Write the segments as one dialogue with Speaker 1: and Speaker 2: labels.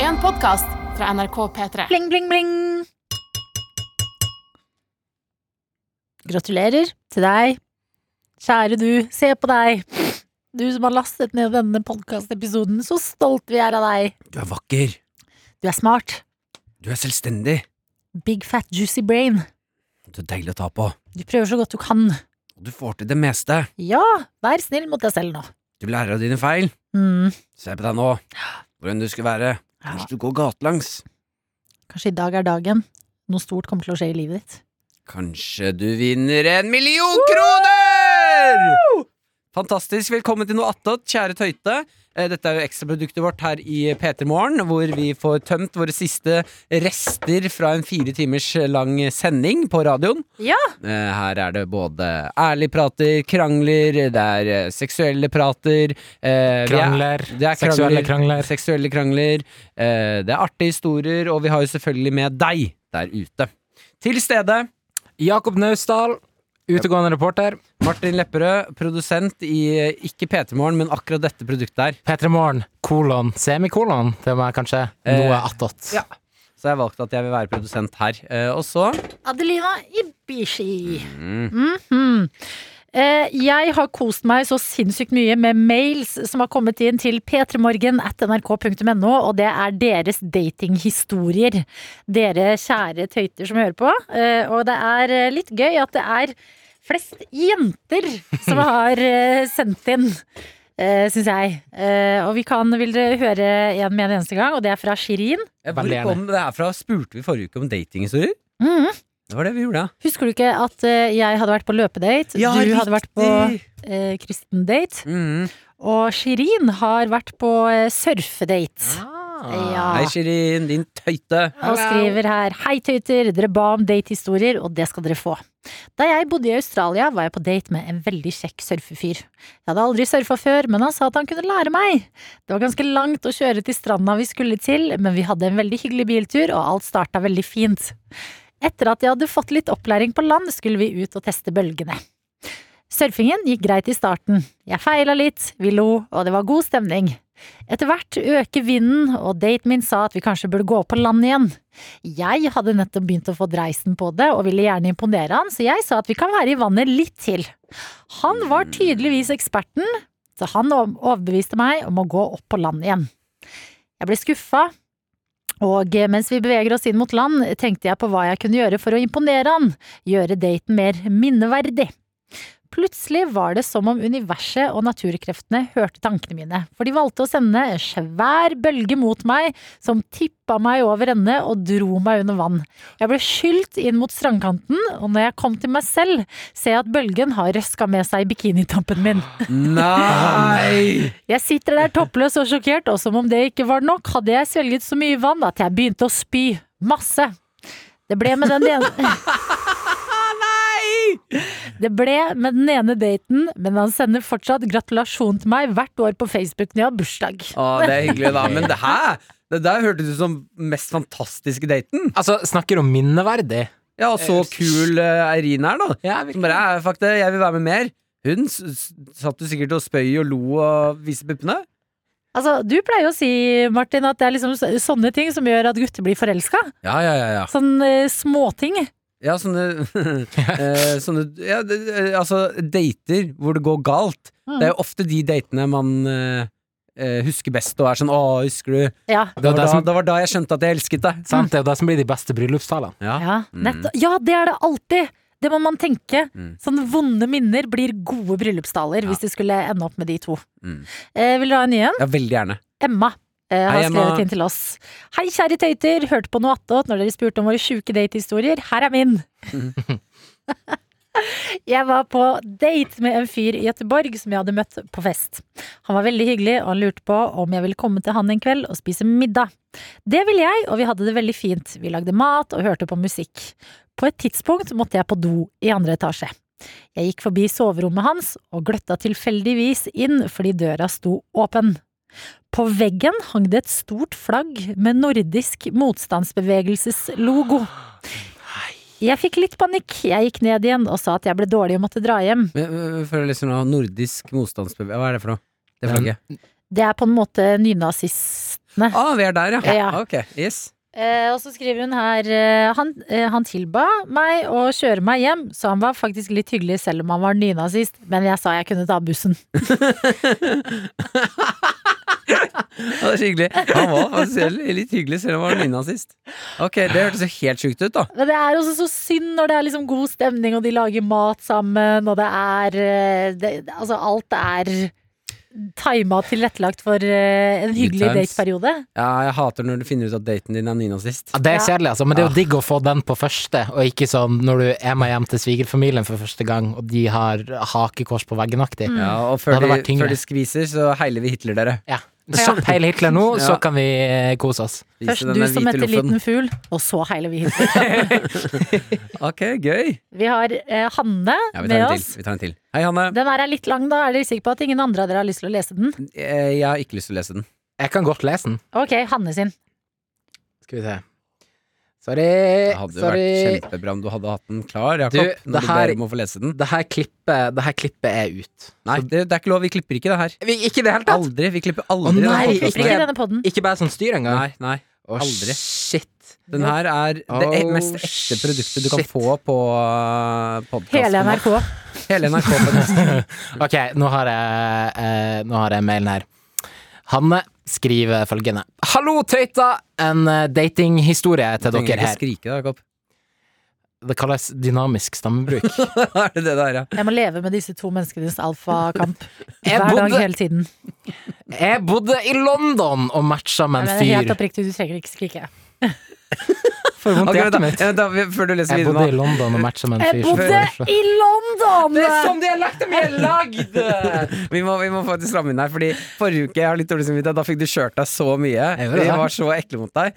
Speaker 1: en podkast fra NRK P3.
Speaker 2: Bling, bling, bling. Gratulerer til deg. Kjære du, se på deg. Du som har lastet ned denne podkastepisoden. Så stolt vi er av deg.
Speaker 3: Du er vakker.
Speaker 2: Du er smart.
Speaker 3: Du er selvstendig.
Speaker 2: Big fat juicy brain.
Speaker 3: Du er deilig å ta på.
Speaker 2: Du prøver så godt du kan.
Speaker 3: Og du får til det meste.
Speaker 2: Ja, vær snill mot deg selv nå.
Speaker 3: Du lærer av dine feil.
Speaker 2: Mm.
Speaker 3: Se på deg nå. Hvordan du skal være.
Speaker 2: Ja.
Speaker 3: Kanskje du går gatelangs.
Speaker 2: Kanskje i dag er dagen noe stort kommer til å skje i livet ditt.
Speaker 3: Kanskje du vinner en million kroner! Fantastisk. Velkommen til noe attåt, kjære Tøyte. Eh, Dette er jo ekstraproduktet vårt her i P3 Morgen, hvor vi får tømt våre siste rester fra en fire timers lang sending på radioen.
Speaker 2: Ja.
Speaker 3: Eh, Her er det både ærlig prater, krangler, det er eh, seksuelle prater eh, vi er-
Speaker 4: Krangler.
Speaker 3: Det er
Speaker 4: Seksuelle krangler.
Speaker 3: Seksuelle krangler. Eh, Det er artige historier, og vi har jo selvfølgelig med deg der ute. Til stede
Speaker 4: Jakob Naustdal, utegående reporter.
Speaker 3: Martin Lepperød, produsent i eh, ikke P3morgen, men akkurat dette produktet her.
Speaker 4: P3 Morgen, kolon, semikolon, til og med kanskje.
Speaker 3: Eh,
Speaker 4: Noe attåt.
Speaker 3: ja. Så jeg valgte at jeg vil være produsent her. Eh, og så
Speaker 2: Adelina Ibishi.
Speaker 3: mm,
Speaker 2: Mhm. Eh, jeg har kost meg så sinnssykt mye med mails som har kommet inn til p3morgen at nrk.no, og det er deres datinghistorier. Dere kjære tøyter som hører på. Eh, og det er eh, litt gøy at det er flest jenter som har eh, sendt inn. Uh, Syns jeg. Eh, og vi kan, vil dere høre en med en eneste gang, og det er fra Shirin.
Speaker 3: Hvor
Speaker 4: Veldig gjerne.
Speaker 3: kom det her fra? Spurte vi forrige uke om datinghistorier?
Speaker 2: Mhm.
Speaker 3: Det var det vi gjorde,
Speaker 2: Husker du ikke at eh, jeg hadde vært på løpedate?
Speaker 3: ja.
Speaker 2: du hadde vært på eh, kristendate.
Speaker 3: Mhm.
Speaker 2: Og Shirin har vært på eh, surfedate.
Speaker 4: Ah,
Speaker 2: Ja.
Speaker 3: Hei, Shirin, din tøyte.
Speaker 2: Og skriver her Hei tøyter, dere ba om datehistorier, og det skal dere få. Da jeg bodde i Australia, var jeg på date med en veldig kjekk surfefyr. Jeg hadde aldri surfa før, men han sa at han kunne lære meg. Det var ganske langt å kjøre til stranda vi skulle til, men vi hadde en veldig hyggelig biltur, og alt starta veldig fint. Etter at jeg hadde fått litt opplæring på land, skulle vi ut og teste bølgene. Surfingen gikk greit i starten. Jeg feila litt, vi lo, og det var god stemning. Etter hvert øker vinden, og daten min sa at vi kanskje burde gå på land igjen. Jeg hadde nettopp begynt å få dreisen på det, og ville gjerne imponere han, så jeg sa at vi kan være i vannet litt til. Han var tydeligvis eksperten, så han overbeviste meg om å gå opp på land igjen. Jeg ble skuffa, og mens vi beveger oss inn mot land, tenkte jeg på hva jeg kunne gjøre for å imponere han, gjøre daten mer minneverdig. Plutselig var det som om universet og naturkreftene hørte tankene mine, for de valgte å sende en svær bølge mot meg som tippa meg over ende og dro meg under vann. Jeg ble skylt inn mot strandkanten, og når jeg kom til meg selv, ser jeg at bølgen har røska med seg bikinitoppen min.
Speaker 3: Nei!
Speaker 2: Jeg sitter der toppløs og sjokkert, og som om det ikke var nok, hadde jeg svelget så mye vann at jeg begynte å spy. Masse. Det ble med den ene Det ble med den ene daten, men han sender fortsatt gratulasjon til meg hvert år på Facebook når jeg har bursdag.
Speaker 3: Å, det er hyggelig, da. Men det her det der hørtes ut som mest fantastiske daten.
Speaker 4: Altså, snakker om minneverdig.
Speaker 3: Ja, og så kul eh, Eirin er, da.
Speaker 4: Ja,
Speaker 3: Som bare er fuck det, jeg vil være med mer. Hun s s satt jo sikkert og spøy og lo og viste puppene.
Speaker 2: Altså, du pleier å si, Martin, at det er liksom så- sånne ting som gjør at gutter blir forelska.
Speaker 3: Ja, ja, ja, ja.
Speaker 2: Sånn eh, småting.
Speaker 3: Ja, sånne, eh, sånne ja, det, eh, Altså, dater hvor det går galt.
Speaker 2: Mm.
Speaker 3: Det er jo ofte de datene man eh, eh, husker best og er sånn 'Å, husker du?'
Speaker 2: Ja.
Speaker 3: Det var,
Speaker 4: det
Speaker 3: da,
Speaker 4: som-
Speaker 3: det var da jeg skjønte at jeg elsket deg.
Speaker 4: Sant? Det er jo det som blir de beste bryllupstalene.
Speaker 3: Ja.
Speaker 2: Ja,
Speaker 3: Mm.
Speaker 2: nettopp. ja, det er det alltid! Det må man tenke.
Speaker 3: Mm.
Speaker 2: Sånne vonde minner blir gode bryllupsdaler hvis det skulle ende opp med de to.
Speaker 3: Mm.
Speaker 2: Eh, vil du ha en ny en?
Speaker 3: ja, veldig gjerne.
Speaker 2: Emma eh, har
Speaker 3: Hei, Emma.
Speaker 2: skrevet inn til oss. Hei, kjære tøyter. Hørte på noe attåt når dere spurte om våre sjuke datehistorier. Her er min. Jeg var på date med en fyr i Gøteborg som jeg hadde møtt på fest. Han var veldig hyggelig, og han lurte på om jeg ville komme til han en kveld og spise middag. Det ville jeg, og vi hadde det veldig fint. Vi lagde mat og hørte på musikk. På et tidspunkt måtte jeg på do i andre etasje. Jeg gikk forbi soverommet hans og gløtta tilfeldigvis inn fordi døra sto åpen. På veggen hang det et stort flagg med nordisk motstandsbevegelseslogo. Jeg fikk litt panikk. Jeg gikk ned igjen og sa at jeg ble dårlig og måtte dra hjem.
Speaker 3: eh, Men, men, men, for å liksom ha nordisk motstandsbevegelse Hva er det for noe? Det
Speaker 4: Den-
Speaker 3: flagget.
Speaker 2: Det er på en måte nynazistene.
Speaker 3: Ah, vi er der, ja.
Speaker 2: Ja.
Speaker 3: Ok, yes.
Speaker 2: Eh, og så skriver hun her eh, han, eh, han tilba meg å kjøre meg hjem, så han var faktisk litt hyggelig selv om han var nynazist, men jeg sa jeg kunne ta bussen.
Speaker 3: Ja, det er så hyggelig. Han var faktisk litt hyggelig, selv om han var nynazist. Ok, det hørtes jo helt sjukt ut, da.
Speaker 2: Men det er også så synd når det er liksom god stemning, og de lager mat sammen, og det er eh, det, Altså, alt er tima tilrettelagt for eh, en
Speaker 3: Good
Speaker 2: hyggelig
Speaker 3: times.
Speaker 2: dateperiode.
Speaker 3: Ja, jeg hater når du finner ut at daten din er nynazist.
Speaker 4: Ja, det er
Speaker 2: Ja.
Speaker 4: kjedelig, altså,
Speaker 3: Ah.
Speaker 4: men det er jo digg å få den på første, og ikke sånn når du er med hjem til svigerfamilien for første gang, og de har hakekors på veggen-aktig.
Speaker 3: Ja, og
Speaker 4: Det
Speaker 3: før
Speaker 4: hadde
Speaker 3: de,
Speaker 4: vært tyngre.
Speaker 3: før de skviser, så heiler vi Hitler, dere.
Speaker 4: Ja. Kjapp heil Hitler nå, så kan vi eh, kose oss.
Speaker 3: Vise
Speaker 2: Først du
Speaker 3: denne
Speaker 2: som
Speaker 3: hvite
Speaker 2: heter
Speaker 3: loffen.
Speaker 2: Liten fugl, og så heiler vi hit.
Speaker 3: Ok, gøy.
Speaker 2: Vi har eh, Hanne
Speaker 3: Ja, vi tar,
Speaker 2: med
Speaker 3: en
Speaker 2: oss.
Speaker 3: til. vi tar en til. Hei, Hanne.
Speaker 2: Den her er litt lang, da. Er dere sikre på at ingen andre av dere har lyst til å lese den?
Speaker 3: Eh, Jeg har ikke lyst til å lese den.
Speaker 4: Jeg kan godt lese den.
Speaker 2: Ok, Hanne sin.
Speaker 4: Skal vi se. Sorry.
Speaker 3: Det hadde jo
Speaker 4: Sorry.
Speaker 3: vært kjempebra om du hadde hatt den klar,
Speaker 4: Du,
Speaker 3: Jakob.
Speaker 4: det
Speaker 3: Når du
Speaker 4: her-
Speaker 3: ber om å få lese den.
Speaker 4: Det her klippet, det her klippet er ut.
Speaker 3: Nei, det, det er ikke lov. Vi klipper ikke det her.
Speaker 4: Vi, ikke i det hele tatt!
Speaker 3: Aldri. Vi klipper aldri
Speaker 4: Å,
Speaker 3: denne
Speaker 4: nei,
Speaker 3: podcasten
Speaker 2: Klipper
Speaker 4: ikke-
Speaker 3: her.
Speaker 2: ikke denne podden.
Speaker 4: Ikke bare som styr engang.
Speaker 3: Nei, nei.
Speaker 4: Å,
Speaker 3: aldri.
Speaker 4: Shit.
Speaker 3: Den her er det e-
Speaker 4: Oh,
Speaker 3: mest ekte produktet du kan
Speaker 4: shit.
Speaker 3: få på podkasten.
Speaker 2: Hele NRK.
Speaker 3: Hele NRK på nesten.
Speaker 4: Ok, nå har jeg, eh, nå har jeg mailen her. Hanne skriver følgende. Hallo, tøyta! En eh, datinghistorie til
Speaker 3: Trenger
Speaker 4: dere
Speaker 3: ikke
Speaker 4: her.
Speaker 3: skrike, da, Jakob.
Speaker 4: Det kalles dynamisk stammebruk.
Speaker 3: er det det der, ja?
Speaker 2: Jeg må leve med disse to menneskenes alfakamp
Speaker 4: Jeg
Speaker 2: hver dag
Speaker 4: bodde-
Speaker 2: hele tiden.
Speaker 4: Jeg bodde i London og matcha
Speaker 2: Nei,
Speaker 4: med
Speaker 2: men
Speaker 4: en
Speaker 2: helt
Speaker 4: fyr.
Speaker 2: oppriktig, du trenger ikke skrike.
Speaker 4: Får vondt i
Speaker 3: Ok,
Speaker 4: hjertet
Speaker 3: da,
Speaker 4: mitt.
Speaker 3: ja, da, vi- før du leser
Speaker 4: Jeg
Speaker 3: videre
Speaker 4: bodde i
Speaker 3: nå.
Speaker 4: London og matcha med en
Speaker 2: Jeg
Speaker 4: fyr. som
Speaker 2: bodde
Speaker 4: foreslo-
Speaker 2: i London!
Speaker 4: dialekten min er lagd!
Speaker 3: Vi må, vi må faktisk ramme inn her, Fordi forrige uke jeg har litt dårlig samvittighet. Da fikk du kjørt deg så mye.
Speaker 4: Jeg gjorde
Speaker 3: Vi
Speaker 4: det.
Speaker 3: var så ekle mot deg.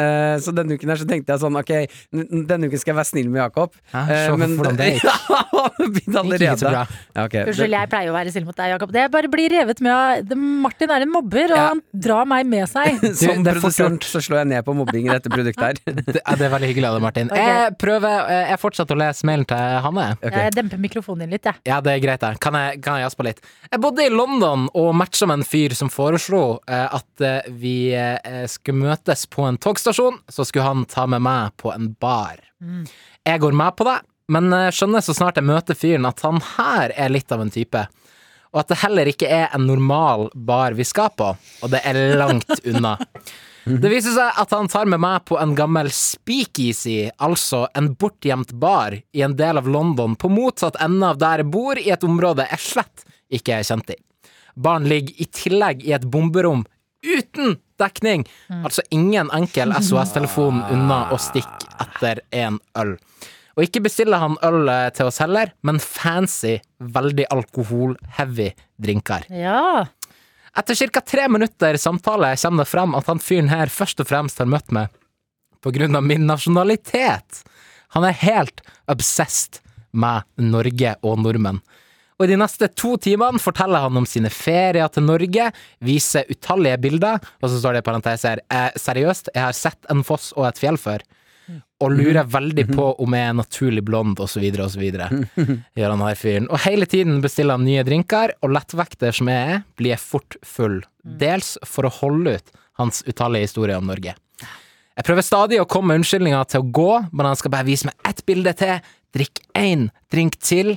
Speaker 3: Eh, så denne uken her så tenkte jeg sånn Ok, n- denne uken skal jeg være snill med Jakob. Eh,
Speaker 4: Ja, se hvordan det gikk.
Speaker 3: Ja, det begynte
Speaker 4: Det gikk ikke så
Speaker 3: allerede.
Speaker 4: bra.
Speaker 3: Ja, ok.
Speaker 2: Unnskyld, jeg pleier å være snill mot deg, Jakob. Det bare blir revet med av det- Martin er en mobber, og
Speaker 3: Ja.
Speaker 2: han drar meg med seg.
Speaker 3: Det- Som
Speaker 4: det er fort
Speaker 3: produsent så slår jeg ned på mobbing i dette produktet her.
Speaker 4: Det, ja, det er veldig hyggelig av deg, Martin.
Speaker 2: Ok.
Speaker 4: Jeg prøver, eh, jeg fortsetter å lese mailen til Hanne.
Speaker 3: Ok.
Speaker 2: Jeg demper mikrofonen din litt, jeg.
Speaker 4: Ja, det er greit, det. Kan jeg, kan jeg jaspe litt? Jeg bodde i London og matcha med en fyr som foreslo eh, at eh, vi eh, skulle møtes på en togstasjon, så skulle han ta med meg på en bar. Jeg går med på det, men eh, skjønner så snart jeg møter fyren at han her er litt av en type. Og at det heller ikke er en normal bar vi skal på, og det er langt unna. Det viser seg at han tar med meg på en gammel speakeasy, altså en bortgjemt bar i en del av London på motsatt ende av der jeg bor, i et område jeg slett ikke er kjent i. Baren ligger i tillegg i et bomberom uten dekning, altså ingen enkel SOS-telefon unna å stikke etter en øl. Og ikke bestiller han øl eh, til oss heller, men fancy, veldig alkoholheavy drinker.
Speaker 2: Ja.
Speaker 4: Etter ca. tre minutter samtale kommer det frem at han fyren her først og fremst har møtt meg på grunn av min nasjonalitet. Han er helt obsessed med Norge og nordmenn. Og i de neste to timene forteller han om sine ferier til Norge, viser utallige bilder, og så står det i parentes her eh, Seriøst, jeg har sett en foss og et fjell før. Og lurer veldig på om jeg er naturlig blond, osv., osv. Gjør han her fyren. Og hele tiden bestiller han nye drinker, og lettvekter som jeg er, blir jeg fort full. Dels for å holde ut hans utallige historier om Norge. Jeg prøver stadig å komme med unnskyldninger til å gå, men han skal bare vise meg ett bilde til, drikk én drink til.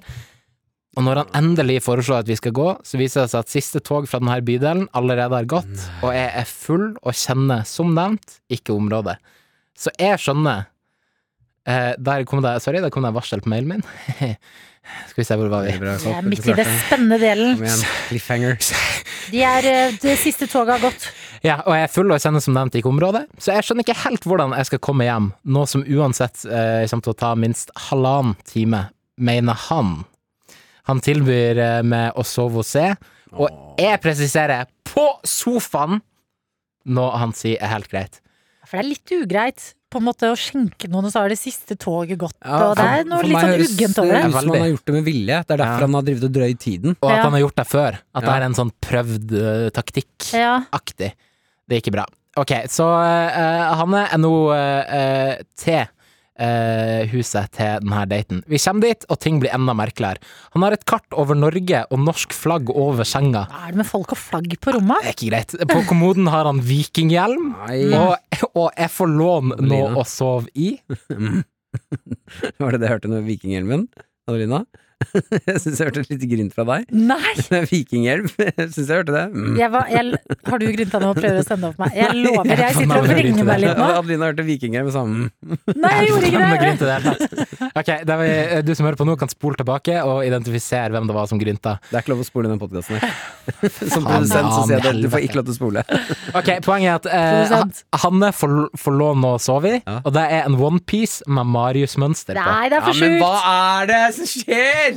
Speaker 4: Og når han endelig foreslår at vi skal gå, så viser det seg at siste tog fra denne bydelen allerede har gått, og jeg er full og kjenner, som nevnt, ikke området. Så jeg skjønner eh, Der kom det Sorry, der kom det en varsel på mailen min. skal vi se, hvor var vi?
Speaker 2: Jeg er midt i den spennende
Speaker 3: Kom
Speaker 2: delen.
Speaker 3: igjen, cliffhanger.
Speaker 2: De er, eh, det siste toget har gått.
Speaker 4: Ja, og jeg er full og kjenner som nevnt ikke området, så jeg skjønner ikke helt hvordan jeg skal komme hjem, noe som uansett eh, kommer til å ta minst halvannen time, mener han. Han tilbyr eh, meg å sove hos seg, og jeg presiserer på sofaen, noe han sier er helt greit.
Speaker 2: For det er litt ugreit på en måte å skjenke noen, og så har det siste toget gått,
Speaker 3: Ja,
Speaker 2: og det er
Speaker 3: for-
Speaker 2: noe
Speaker 3: for
Speaker 2: litt
Speaker 3: meg
Speaker 2: sånn
Speaker 3: høres eh,
Speaker 2: uggent over
Speaker 3: Det
Speaker 2: det.
Speaker 3: ut som han
Speaker 4: Veldig.
Speaker 3: har gjort det med vilje. Det er derfor
Speaker 4: Ja.
Speaker 3: han har drevet og drøyd tiden.
Speaker 4: Og at
Speaker 2: Ja.
Speaker 4: han har gjort det før, at det
Speaker 3: Ja.
Speaker 4: er en sånn prøvd eh, taktikk.
Speaker 2: Ja.
Speaker 4: aktig. Det er ikke bra. Ok, så eh, Hanne er nå eh, eh, til eh, eh, huset til denne daten. Vi kommer dit, og ting blir enda merkeligere. Han har et kart over Norge og norsk flagg over senga.
Speaker 2: Hva er det med folk og flagg på rommet?
Speaker 4: Det er ikke greit. På kommoden har han vikinghjelm,
Speaker 3: Nei.
Speaker 4: og, og jeg får låne noe
Speaker 3: Lina.
Speaker 4: å sove i.
Speaker 3: Var det det jeg hørte med vikinghjelmen, Adelina? jeg syns jeg hørte et lite grin fra deg.
Speaker 2: Nei!
Speaker 3: Vikinghjelm, syns jeg hørte det. Mm.
Speaker 2: Jeg var, jeg, har du grunta nå og prøver å sende opp meg? Jeg lover, jeg
Speaker 4: Nei,
Speaker 2: sitter og
Speaker 4: jeg kan
Speaker 2: vrenger
Speaker 4: aldri
Speaker 2: meg litt nå.
Speaker 3: Adelina hørte vikinghjelm sammen.
Speaker 2: Nei, jeg gjorde
Speaker 4: Hvem det
Speaker 2: ikke det.
Speaker 4: grynte i det hele tatt? Ok, det var, du som hører på nå, kan spole tilbake og identifisere hvem det var som grynta.
Speaker 3: Det er ikke lov å spole i den podkasten her. Som
Speaker 4: Faen,
Speaker 3: produsent så
Speaker 4: faen,
Speaker 3: sier jeg det, du får
Speaker 4: helvete.
Speaker 3: ikke lov til å spole.
Speaker 4: Ok, Poenget er at eh,
Speaker 2: Produsent.
Speaker 4: Ha- Hanne får, får låne å sove i,
Speaker 3: Ja.
Speaker 4: og det er en onepiece med Marius-mønster på.
Speaker 2: Nei, det er for sjukt.
Speaker 3: er det som skjer?!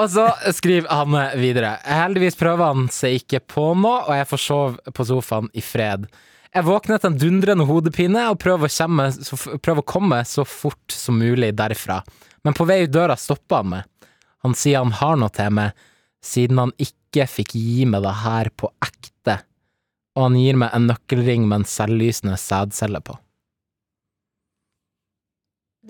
Speaker 4: Og så skriver Hanne videre. Heldigvis prøver han seg ikke på noe, og jeg får sove på sofaen i fred. Jeg våkner etter en dundrende hodepine og prøver å, komme, så, f- prøver å komme så fort som mulig derfra. Men på vei ut døra stopper han meg. Han sier han har noe til meg, siden han ikke fikk gi meg det her på ekte. Og han gir meg en nøkkelring med en selvlysende sædcelle på.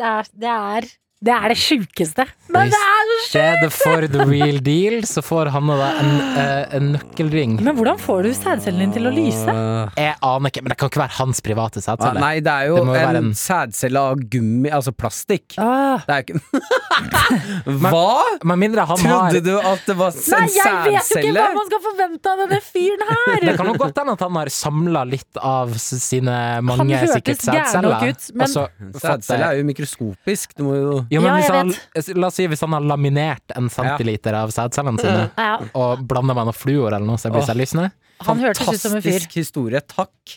Speaker 2: Det er det, er, det, er det sjukeste. Men det er så
Speaker 4: I stedet for the real deal, så får Hanne da en, eh, en nøkkelring.
Speaker 2: Men hvordan får du sædcellen din til å lyse?
Speaker 4: Jeg aner ikke, men det kan ikke være hans private sædcelle.
Speaker 3: nei, det er jo
Speaker 4: Det må jo
Speaker 3: en,
Speaker 4: være en-
Speaker 3: sædcelle av gummi, altså plastikk.
Speaker 2: Åh.
Speaker 3: Det er jo ikke Hva?!
Speaker 4: Med mindre han har
Speaker 3: Trodde du at det var
Speaker 2: Nei,
Speaker 3: en
Speaker 2: jeg vet jo ikke
Speaker 3: sædcelle?
Speaker 2: hva man skal forvente av denne fyren
Speaker 4: Det
Speaker 2: her!
Speaker 4: kan jo godt hende at han har samla litt av s- sine
Speaker 2: Han
Speaker 4: mange
Speaker 2: hørtes
Speaker 4: sikkert
Speaker 2: gæren
Speaker 4: sædceller.
Speaker 2: nok ut, men-
Speaker 4: Altså,
Speaker 3: Sædcelle er jo mikroskopisk, du må jo
Speaker 4: jo, men
Speaker 2: Ja,
Speaker 4: hvis
Speaker 2: jeg
Speaker 4: han, la oss si hvis han har laminert en centiliter av sædcellene sine,
Speaker 2: Ja,
Speaker 4: og blanda med noe fluor eller noe så det blir
Speaker 3: Åh.
Speaker 4: selvlysende,
Speaker 2: han hørtes ut som en fyr.
Speaker 3: Fantastisk historie, takk.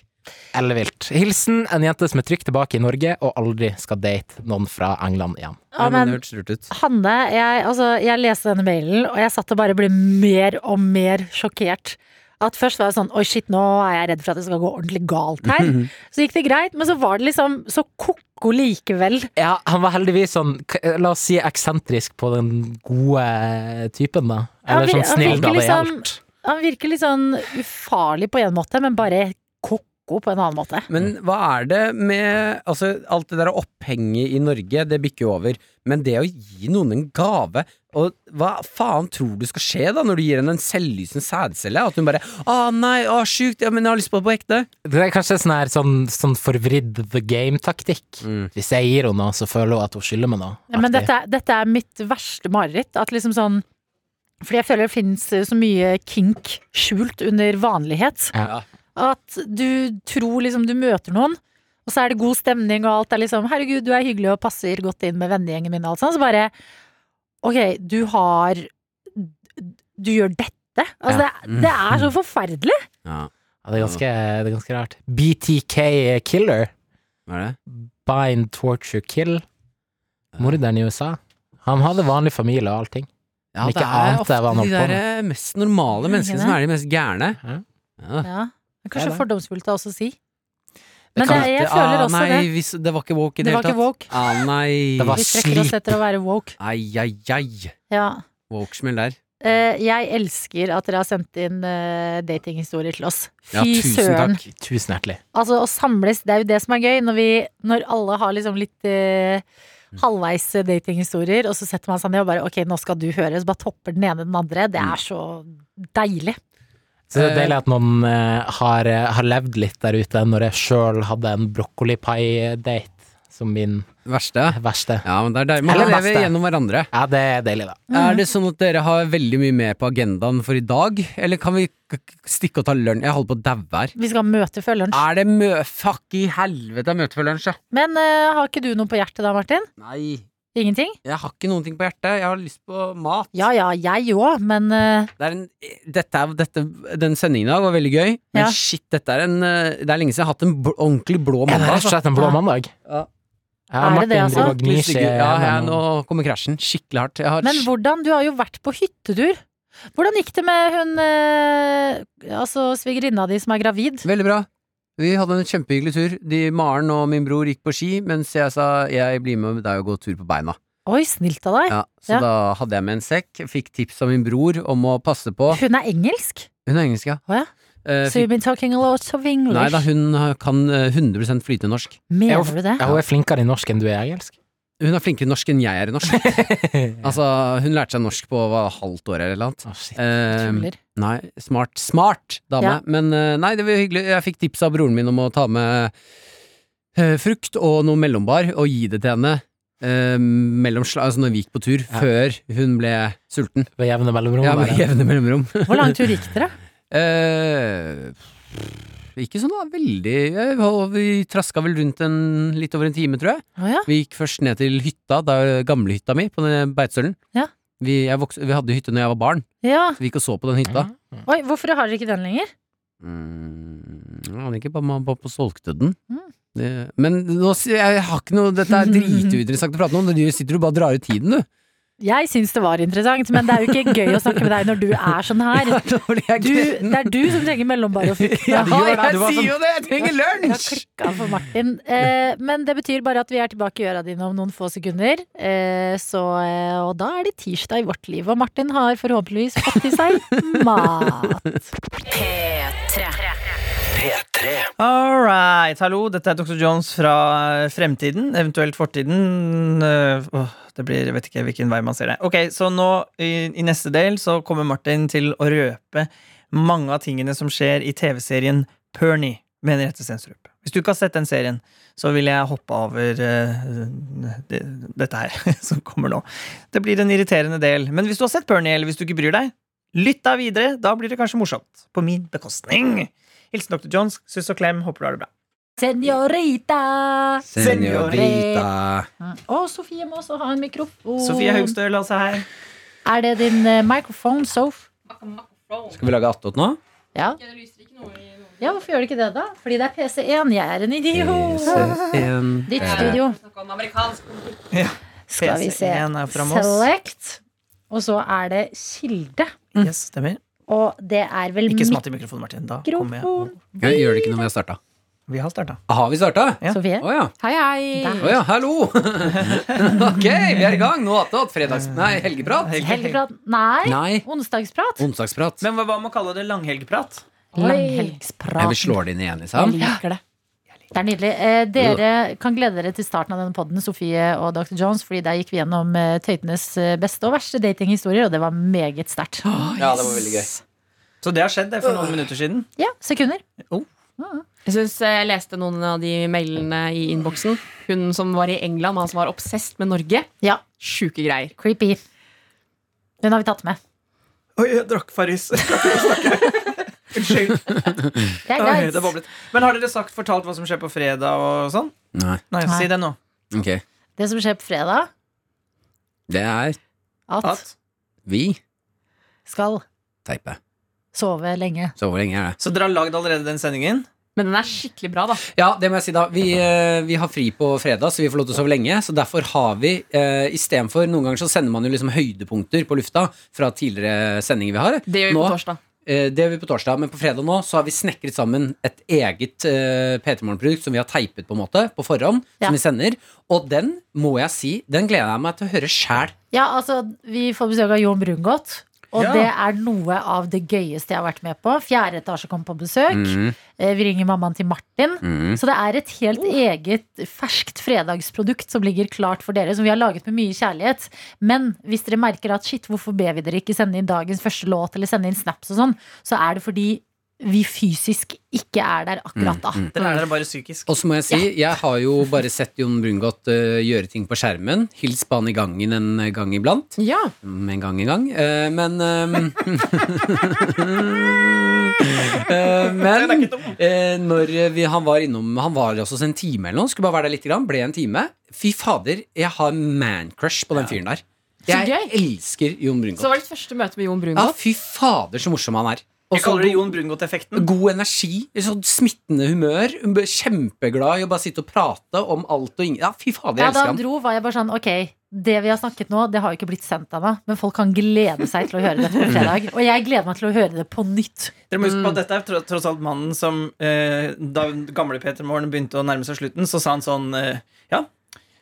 Speaker 4: ellevilt. Hilsen en jente som er trygt tilbake i Norge og aldri skal date noen fra England igjen.
Speaker 2: Ja,
Speaker 3: men
Speaker 2: men
Speaker 3: det hørtes lurt ut.
Speaker 2: Hanne, jeg, altså, jeg leste denne mailen, og jeg satt og bare ble mer og mer sjokkert. At først var jeg sånn Oi, shit, nå er jeg redd for at det skal gå ordentlig galt her.
Speaker 3: Mhm.
Speaker 2: Så gikk det greit, men så var det liksom så ko-ko likevel.
Speaker 4: Ja, han var heldigvis sånn, k- la oss si eksentrisk på den gode typen, da.
Speaker 2: Ja,
Speaker 4: Eller
Speaker 2: vi-
Speaker 4: sånn
Speaker 2: han
Speaker 4: snill
Speaker 2: virker
Speaker 4: da det
Speaker 2: liksom-
Speaker 4: gjaldt.
Speaker 2: Han virker litt sånn ufarlig på en måte, men bare ko-ko på en annen måte.
Speaker 3: Men hva er det med Altså, alt det der opphenget i Norge, det bikker jo over. Men det å gi noen en gave Og hva faen tror du skal skje da, når du gir henne en selvlysende sædcelle? At hun bare 'Å nei, å sjukt, ja, men jeg har lyst på det på ekte'.
Speaker 4: Det er kanskje sånn, her, sånn, sånn forvridd the game-taktikk.
Speaker 3: Mm.
Speaker 4: Hvis jeg gir henne noe, så føler hun at hun skylder meg noe.
Speaker 2: Ja, men
Speaker 4: Aktig.
Speaker 2: dette, er- dette er mitt verste mareritt. At liksom sånn Fordi jeg føler det finnes eh, så mye kink skjult under vanlighet.
Speaker 4: Ja.
Speaker 2: At du tror liksom du møter noen, og så er det god stemning og alt er liksom 'herregud, du er hyggelig og passer godt inn med vennegjengen min' og alt sånt. Så bare Ok, du har Du gjør dette? Altså,
Speaker 4: Ja.
Speaker 2: det, det er så forferdelig!
Speaker 3: Ja,
Speaker 4: Ja, det, er ganske, det er ganske rart. BTK Killer.
Speaker 3: hva er det?
Speaker 4: Bind, torture, kill. Morderen i USA. Han hadde vanlig familie og allting.
Speaker 3: Ja,
Speaker 4: Men ikke ante jeg hva
Speaker 3: de
Speaker 4: han holdt på
Speaker 3: der eh, mest normale menneskene som er de mest gærne. Ja.
Speaker 4: Ja.
Speaker 2: Ja. Men
Speaker 4: Ja,
Speaker 2: kanskje
Speaker 4: da.
Speaker 2: fordomsfullt å også si. Men
Speaker 3: kan
Speaker 2: det,
Speaker 3: ikke-
Speaker 2: jeg føler
Speaker 3: ah,
Speaker 2: også
Speaker 3: nei,
Speaker 2: det.
Speaker 3: Hvis, det var ikke woke i det
Speaker 2: Det
Speaker 3: hele
Speaker 2: var
Speaker 3: tatt.
Speaker 2: ikke woke.
Speaker 3: Ah, nei.
Speaker 4: Det var
Speaker 2: Vi strekker oss
Speaker 4: slip.
Speaker 2: etter å være woke.
Speaker 3: Ai, ai, ai.
Speaker 2: Ja.
Speaker 3: Woke-smell der.
Speaker 2: Eh, jeg elsker at dere har sendt inn eh, datinghistorier til oss. Fy
Speaker 3: Ja, tusen
Speaker 2: søren.
Speaker 3: takk.
Speaker 4: Tusen hjertelig.
Speaker 2: Altså, å samles, det er jo det som er gøy, når, vi, når alle har liksom litt eh,
Speaker 3: Mm.
Speaker 2: halvveis eh, datinghistorier, og så setter man seg ned og bare ok, nå skal du høre, så bare topper den ene den andre. Det
Speaker 3: Mm.
Speaker 2: er så deilig.
Speaker 4: Så det er
Speaker 3: Eh.
Speaker 4: deilig at noen eh, har, eh, har levd litt der ute, når jeg sjøl hadde en brokkolipai-date som min
Speaker 3: Verste.
Speaker 4: verste.
Speaker 3: Ja, men det er deilig. Man
Speaker 4: Eller
Speaker 3: lever
Speaker 4: beste.
Speaker 3: gjennom hverandre.
Speaker 4: Ja, det er deilig, da.
Speaker 3: Er det sånn at dere har veldig mye mer på agendaen for i dag, eller kan vi k- k- stikke og ta lunsj? Jeg holder på å daue her.
Speaker 2: Vi skal ha møte før lunsj.
Speaker 3: Er det mø... Fuck i helvete, møte før lunsj, ja.
Speaker 2: Men eh, har ikke du noe på hjertet da, Martin?
Speaker 3: Nei,
Speaker 2: Ingenting?
Speaker 3: jeg har ikke noen ting på hjertet. Jeg har lyst på mat.
Speaker 2: Ja ja, jeg òg, men eh,
Speaker 3: Det er en, dette er, dette, den sendingen i dag var veldig gøy, men
Speaker 2: Ja.
Speaker 3: shit, dette er en eh, Det er lenge siden jeg har hatt en bl ordentlig blå
Speaker 4: Er det
Speaker 3: mandag. altså.
Speaker 4: rett og slett en blå
Speaker 2: Ja.
Speaker 4: mandag?
Speaker 3: Ja.
Speaker 4: Ja,
Speaker 2: Er det
Speaker 4: Martin
Speaker 2: det, altså?
Speaker 4: driver og gnir seg
Speaker 3: ja, ja,
Speaker 4: gjennom-
Speaker 3: nå kommer krasjen skikkelig hardt. Jeg har
Speaker 2: Men hvordan? Du har jo vært på hyttetur. Hvordan gikk det med hun eh, altså svigerinna di som er gravid?
Speaker 3: Veldig bra. Vi hadde en kjempehyggelig tur. De, Maren og min bror gikk på ski, mens jeg sa jeg blir med deg og gå tur på beina.
Speaker 2: Oi, snilt av deg.
Speaker 3: Ja, så
Speaker 2: Ja.
Speaker 3: da hadde jeg med en sekk. Fikk tips av min bror om å passe på.
Speaker 2: Hun er engelsk?
Speaker 3: Hun er engelsk, ja.
Speaker 2: Å ja.
Speaker 3: eh,
Speaker 2: So you've been
Speaker 3: fikk,
Speaker 2: talking a lot of English.
Speaker 3: nei da, hun har- kan eh, 100 flytende norsk.
Speaker 2: Mener du det?
Speaker 4: Ja, hun er flinkere i norsk enn du er i engelsk.
Speaker 3: Hun er flinkere i norsk enn jeg er i norsk. altså, hun lærte seg norsk på hva, halvt år eller noe annet.
Speaker 4: Å, shit.
Speaker 3: Eh,
Speaker 2: Tuller.
Speaker 3: nei, smart, smart dame.
Speaker 2: Ja.
Speaker 3: Men eh, nei, det var hyggelig. Jeg fikk tips av broren min om å ta med eh, frukt og noe mellombar og gi det til henne. eh, mellom slag, altså når vi gikk på tur,
Speaker 4: Ja.
Speaker 3: før hun ble sulten.
Speaker 4: Ved jevne mellomrom.
Speaker 3: Ja, med
Speaker 4: bare.
Speaker 3: jevne mellomrom.
Speaker 2: Hvor lang tur gikk dere?
Speaker 3: Eh, ikke sånn da, veldig eh, og Vi traska vel rundt en, litt over en time, tror jeg.
Speaker 2: Å ja.
Speaker 3: Vi gikk først ned til hytta, da- gamlehytta mi, på den Beitstølen.
Speaker 2: Ja.
Speaker 3: Vi, jeg vokste, vi hadde hytte når jeg var barn,
Speaker 2: ja.
Speaker 3: så vi gikk og så på den hytta.
Speaker 2: Oi, hvorfor har dere ikke den lenger?
Speaker 3: Mm, jeg aner ikke, mamma og pappa solgte den.
Speaker 2: Mm.
Speaker 3: Det, men nå, sier jeg jeg har ikke noe Dette er drituinteressant å prate om, du sitter jo bare og drar ut tiden, du.
Speaker 2: Jeg syns det var interessant, men det er jo ikke gøy å snakke med deg når du er sånn her.
Speaker 3: Da ble jeg
Speaker 2: Du,
Speaker 3: gretten.
Speaker 2: det er du som trenger mellombar og frukt.
Speaker 3: Ja,
Speaker 2: nå.
Speaker 4: gjør det,
Speaker 3: jeg
Speaker 4: du var
Speaker 3: sier
Speaker 4: sånn-
Speaker 3: jo det! Jeg trenger
Speaker 2: Jeg har
Speaker 3: lunsj!
Speaker 2: klikka for Martin. Eh, men det betyr bare at vi er tilbake i øra dine om noen få sekunder. Eh, så, eh, og da er det tirsdag i vårt liv, og Martin har forhåpentligvis fått i seg mat.
Speaker 5: All right, hallo. Dette er Dr. Jones fra eh, fremtiden, eventuelt fortiden. Eh, åh, det blir, jeg vet ikke hvilken vei man ser det. Ok, Så nå i, i neste del så kommer Martin til å røpe mange av tingene som skjer i TV-serien Pernie med Henriette Stensrup. Hvis du ikke har sett den serien, så vil jeg hoppe over eh, det, dette her som kommer nå. Det blir en irriterende del. Men hvis du har sett Pernie, eller hvis du ikke bryr deg, lytt da videre. Da blir det kanskje morsomt. På min bekostning. Hilsen Dr. Jones. Suss og klem. Håper du har det bra.
Speaker 2: Senorita!
Speaker 3: Senorita.
Speaker 2: Å, Sofie må også ha en mikrofon.
Speaker 5: Sofie Haugstøl, altså her.
Speaker 2: Er det din eh, mikrofon, Sof?
Speaker 3: Skal vi lage attåt nå?
Speaker 2: Ja. ja, hvorfor gjør det ikke det, da? Fordi det er PC1. Jeg er en idiot. Ditt studio. Skal vi se.
Speaker 5: PC1 er fra Moss.
Speaker 2: Select. Og så er det kilde.
Speaker 5: Yes, stemmer.
Speaker 2: Og det er vel
Speaker 5: Ikke smatt i mikrofonen, Martin. Da kommer jeg.
Speaker 2: mikrofon.
Speaker 3: Jeg gjør det ikke når vi har starta.
Speaker 5: Vi har starta.
Speaker 3: Har vi starta?
Speaker 5: Ja.
Speaker 2: Sofie?
Speaker 3: Å ja.
Speaker 1: Hei,
Speaker 3: Å
Speaker 1: hei.
Speaker 3: ja, hallo! ok, vi er i gang. Nå attåt. Fredags... Nei, helgeprat.
Speaker 2: Helgeprat? Nei.
Speaker 3: Nei.
Speaker 2: Onsdagsprat?
Speaker 3: Onsdagsprat.
Speaker 5: Men hva hva med å kalle det langhelgeprat?
Speaker 1: Oi.
Speaker 2: Langhelgsprat.
Speaker 3: vi slår det inn igjen,
Speaker 2: Jeg
Speaker 3: liksom.
Speaker 2: liker det. Det er nydelig. Eh, dere kan glede dere til starten av denne podden, Sofie og Dr. Jones, fordi der gikk vi gjennom eh, tøytenes eh, beste og verste datinghistorier, og det var meget sterkt.
Speaker 3: Ja, det var veldig gøy.
Speaker 5: Så det har skjedd det for noen minutter siden.
Speaker 2: Ja, sekunder.
Speaker 1: Jeg syns jeg leste noen av de mailene i innboksen. Hun som var i England, han som var obsesst med Norge.
Speaker 2: Ja,
Speaker 1: Sjuke greier.
Speaker 2: creepy. Hun har vi tatt med.
Speaker 5: Oi, jeg drakk Farris. Unnskyld.
Speaker 2: Det er
Speaker 5: Oi, det
Speaker 2: greit.
Speaker 5: boblet. Men har dere sagt, fortalt hva som skjer på fredag og sånn?
Speaker 3: Nei,
Speaker 5: Nei,
Speaker 2: Nei.
Speaker 5: si det nå.
Speaker 3: ok.
Speaker 2: Det som skjer på fredag,
Speaker 3: Det er
Speaker 2: at
Speaker 5: At.
Speaker 3: vi
Speaker 2: skal
Speaker 3: teipe.
Speaker 2: sove lenge.
Speaker 3: Så hvor lenge er det?
Speaker 5: Så dere har lagd allerede den sendingen?
Speaker 1: Men den er skikkelig bra, da.
Speaker 3: Ja, det må jeg si, da. Vi, eh, vi har fri på fredag, så vi får lov til å sove lenge. Så derfor har vi eh, istedenfor Noen ganger så sender man jo liksom høydepunkter på lufta fra tidligere sendinger vi har.
Speaker 1: Det gjør vi
Speaker 3: Nå-
Speaker 1: på torsdag.
Speaker 3: Eh, Det gjør vi på torsdag, men på fredag nå så har vi snekret sammen et eget eh, P3 Morgen-produkt som vi har teipet på en måte på forhånd,
Speaker 2: Ja.
Speaker 3: som vi sender. Og den må jeg si, den gleder jeg meg til å høre sjæl.
Speaker 2: Ja, altså, vi får besøk av Jon Brungot. Og
Speaker 5: Ja.
Speaker 2: det er noe av det gøyeste jeg har vært med på. Fjerde etasje kom på besøk. Eh, Vi ringer mammaen til Martin. Så det er et helt eget ferskt fredagsprodukt som ligger klart for dere, som vi har laget med mye kjærlighet. Men hvis dere merker at shit, hvorfor ber vi dere ikke sende inn dagens første låt, eller sende inn snaps og sånn, så er det fordi vi fysisk ikke er der akkurat da.
Speaker 5: Dere er dere bare psykisk.
Speaker 3: Og så må jeg si, jeg har jo bare sett Jon Brungot eh, gjøre ting på skjermen. Hils på han i gangen en gang iblant.
Speaker 1: Ja.
Speaker 3: Mm, En gang en gang. Eh, men ehm, eh, Men
Speaker 5: Den er ikke dum.
Speaker 3: eh, når vi, han var innom Han var hos oss en time eller noe. Skulle bare være der litt. Grann, ble en time. Fy fader, jeg har man-crush på den fyren der.
Speaker 1: Så
Speaker 3: Jeg
Speaker 1: gøy.
Speaker 3: elsker Jon
Speaker 1: Så det
Speaker 3: Brungot.
Speaker 1: var ditt første møte med Jon
Speaker 3: Ja,
Speaker 1: Brungot.
Speaker 3: fy fader, så morsom han er. Og
Speaker 5: Vi
Speaker 3: så
Speaker 5: kaller det
Speaker 3: god,
Speaker 5: Jon Brungot-effekten.
Speaker 3: god energi, sånn smittende humør. Hun ble Kjempeglad i å bare sitte og prate om alt og ingen Ja, fy fader,
Speaker 2: Ja,
Speaker 3: jeg
Speaker 2: da han
Speaker 3: elsker han.
Speaker 2: dro, var jeg bare sånn Ok, det vi har snakket nå, det har jo ikke blitt sendt ennå, men folk kan glede seg til å høre det på fredag. Og jeg gleder meg til å høre det på nytt.
Speaker 5: Dere må huske
Speaker 3: Mm.
Speaker 5: på at dette er tro- tross alt mannen som eh, Da gamle Peter Morgen begynte å nærme seg slutten, så sa han sånn eh, Ja,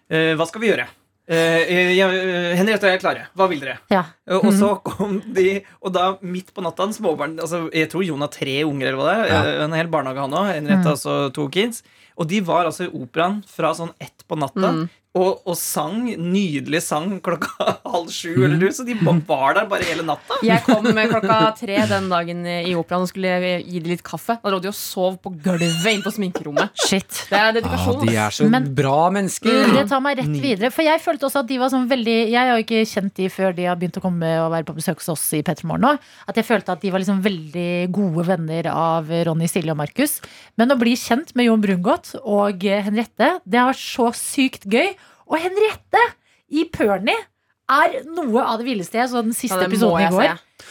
Speaker 5: eh, hva skal vi gjøre? Eh, ja, eh, Henriette og jeg er klare. Hva vil dere?
Speaker 2: Ja.
Speaker 5: Eh, Og
Speaker 3: Mhm.
Speaker 5: så kom de, og da midt på natta en småbarn altså, Jeg tror Jon har tre unger, eller hva det er. eh, En hel barnehage, han òg.
Speaker 3: Mhm.
Speaker 5: Henriette har også to kids. Og de var altså i operaen fra sånn ett på natta.
Speaker 3: Mhm.
Speaker 5: Og, og sang nydelig sang klokka halv sju, eller noe, så de ba- var der bare hele natta.
Speaker 1: Jeg kom eh, klokka tre den dagen i operaen og skulle eh, gi dem litt kaffe. Da lå de og sov på gulvet inne på sminkerommet.
Speaker 2: Shit.
Speaker 1: Det er
Speaker 3: Ja,
Speaker 1: dedikasjon.
Speaker 3: de
Speaker 1: ass.
Speaker 3: er så
Speaker 2: Men-
Speaker 3: bra mennesker.
Speaker 2: Det tar meg rett
Speaker 3: Mm.
Speaker 2: videre. For jeg følte også at de var sånn veldig Jeg har jo ikke kjent de før de har begynt å komme og være på besøk hos oss i Petremorgen nå. At jeg følte at de var liksom veldig gode venner av Ronny, Silje og Markus. Men å bli kjent med Jon Brungot og eh, Henriette, det har vært så sykt gøy. Og Henriette i Perny er noe av det villeste jeg så den
Speaker 1: Ja,
Speaker 2: siste
Speaker 1: det må
Speaker 2: episoden i
Speaker 1: jeg
Speaker 2: går.
Speaker 1: se.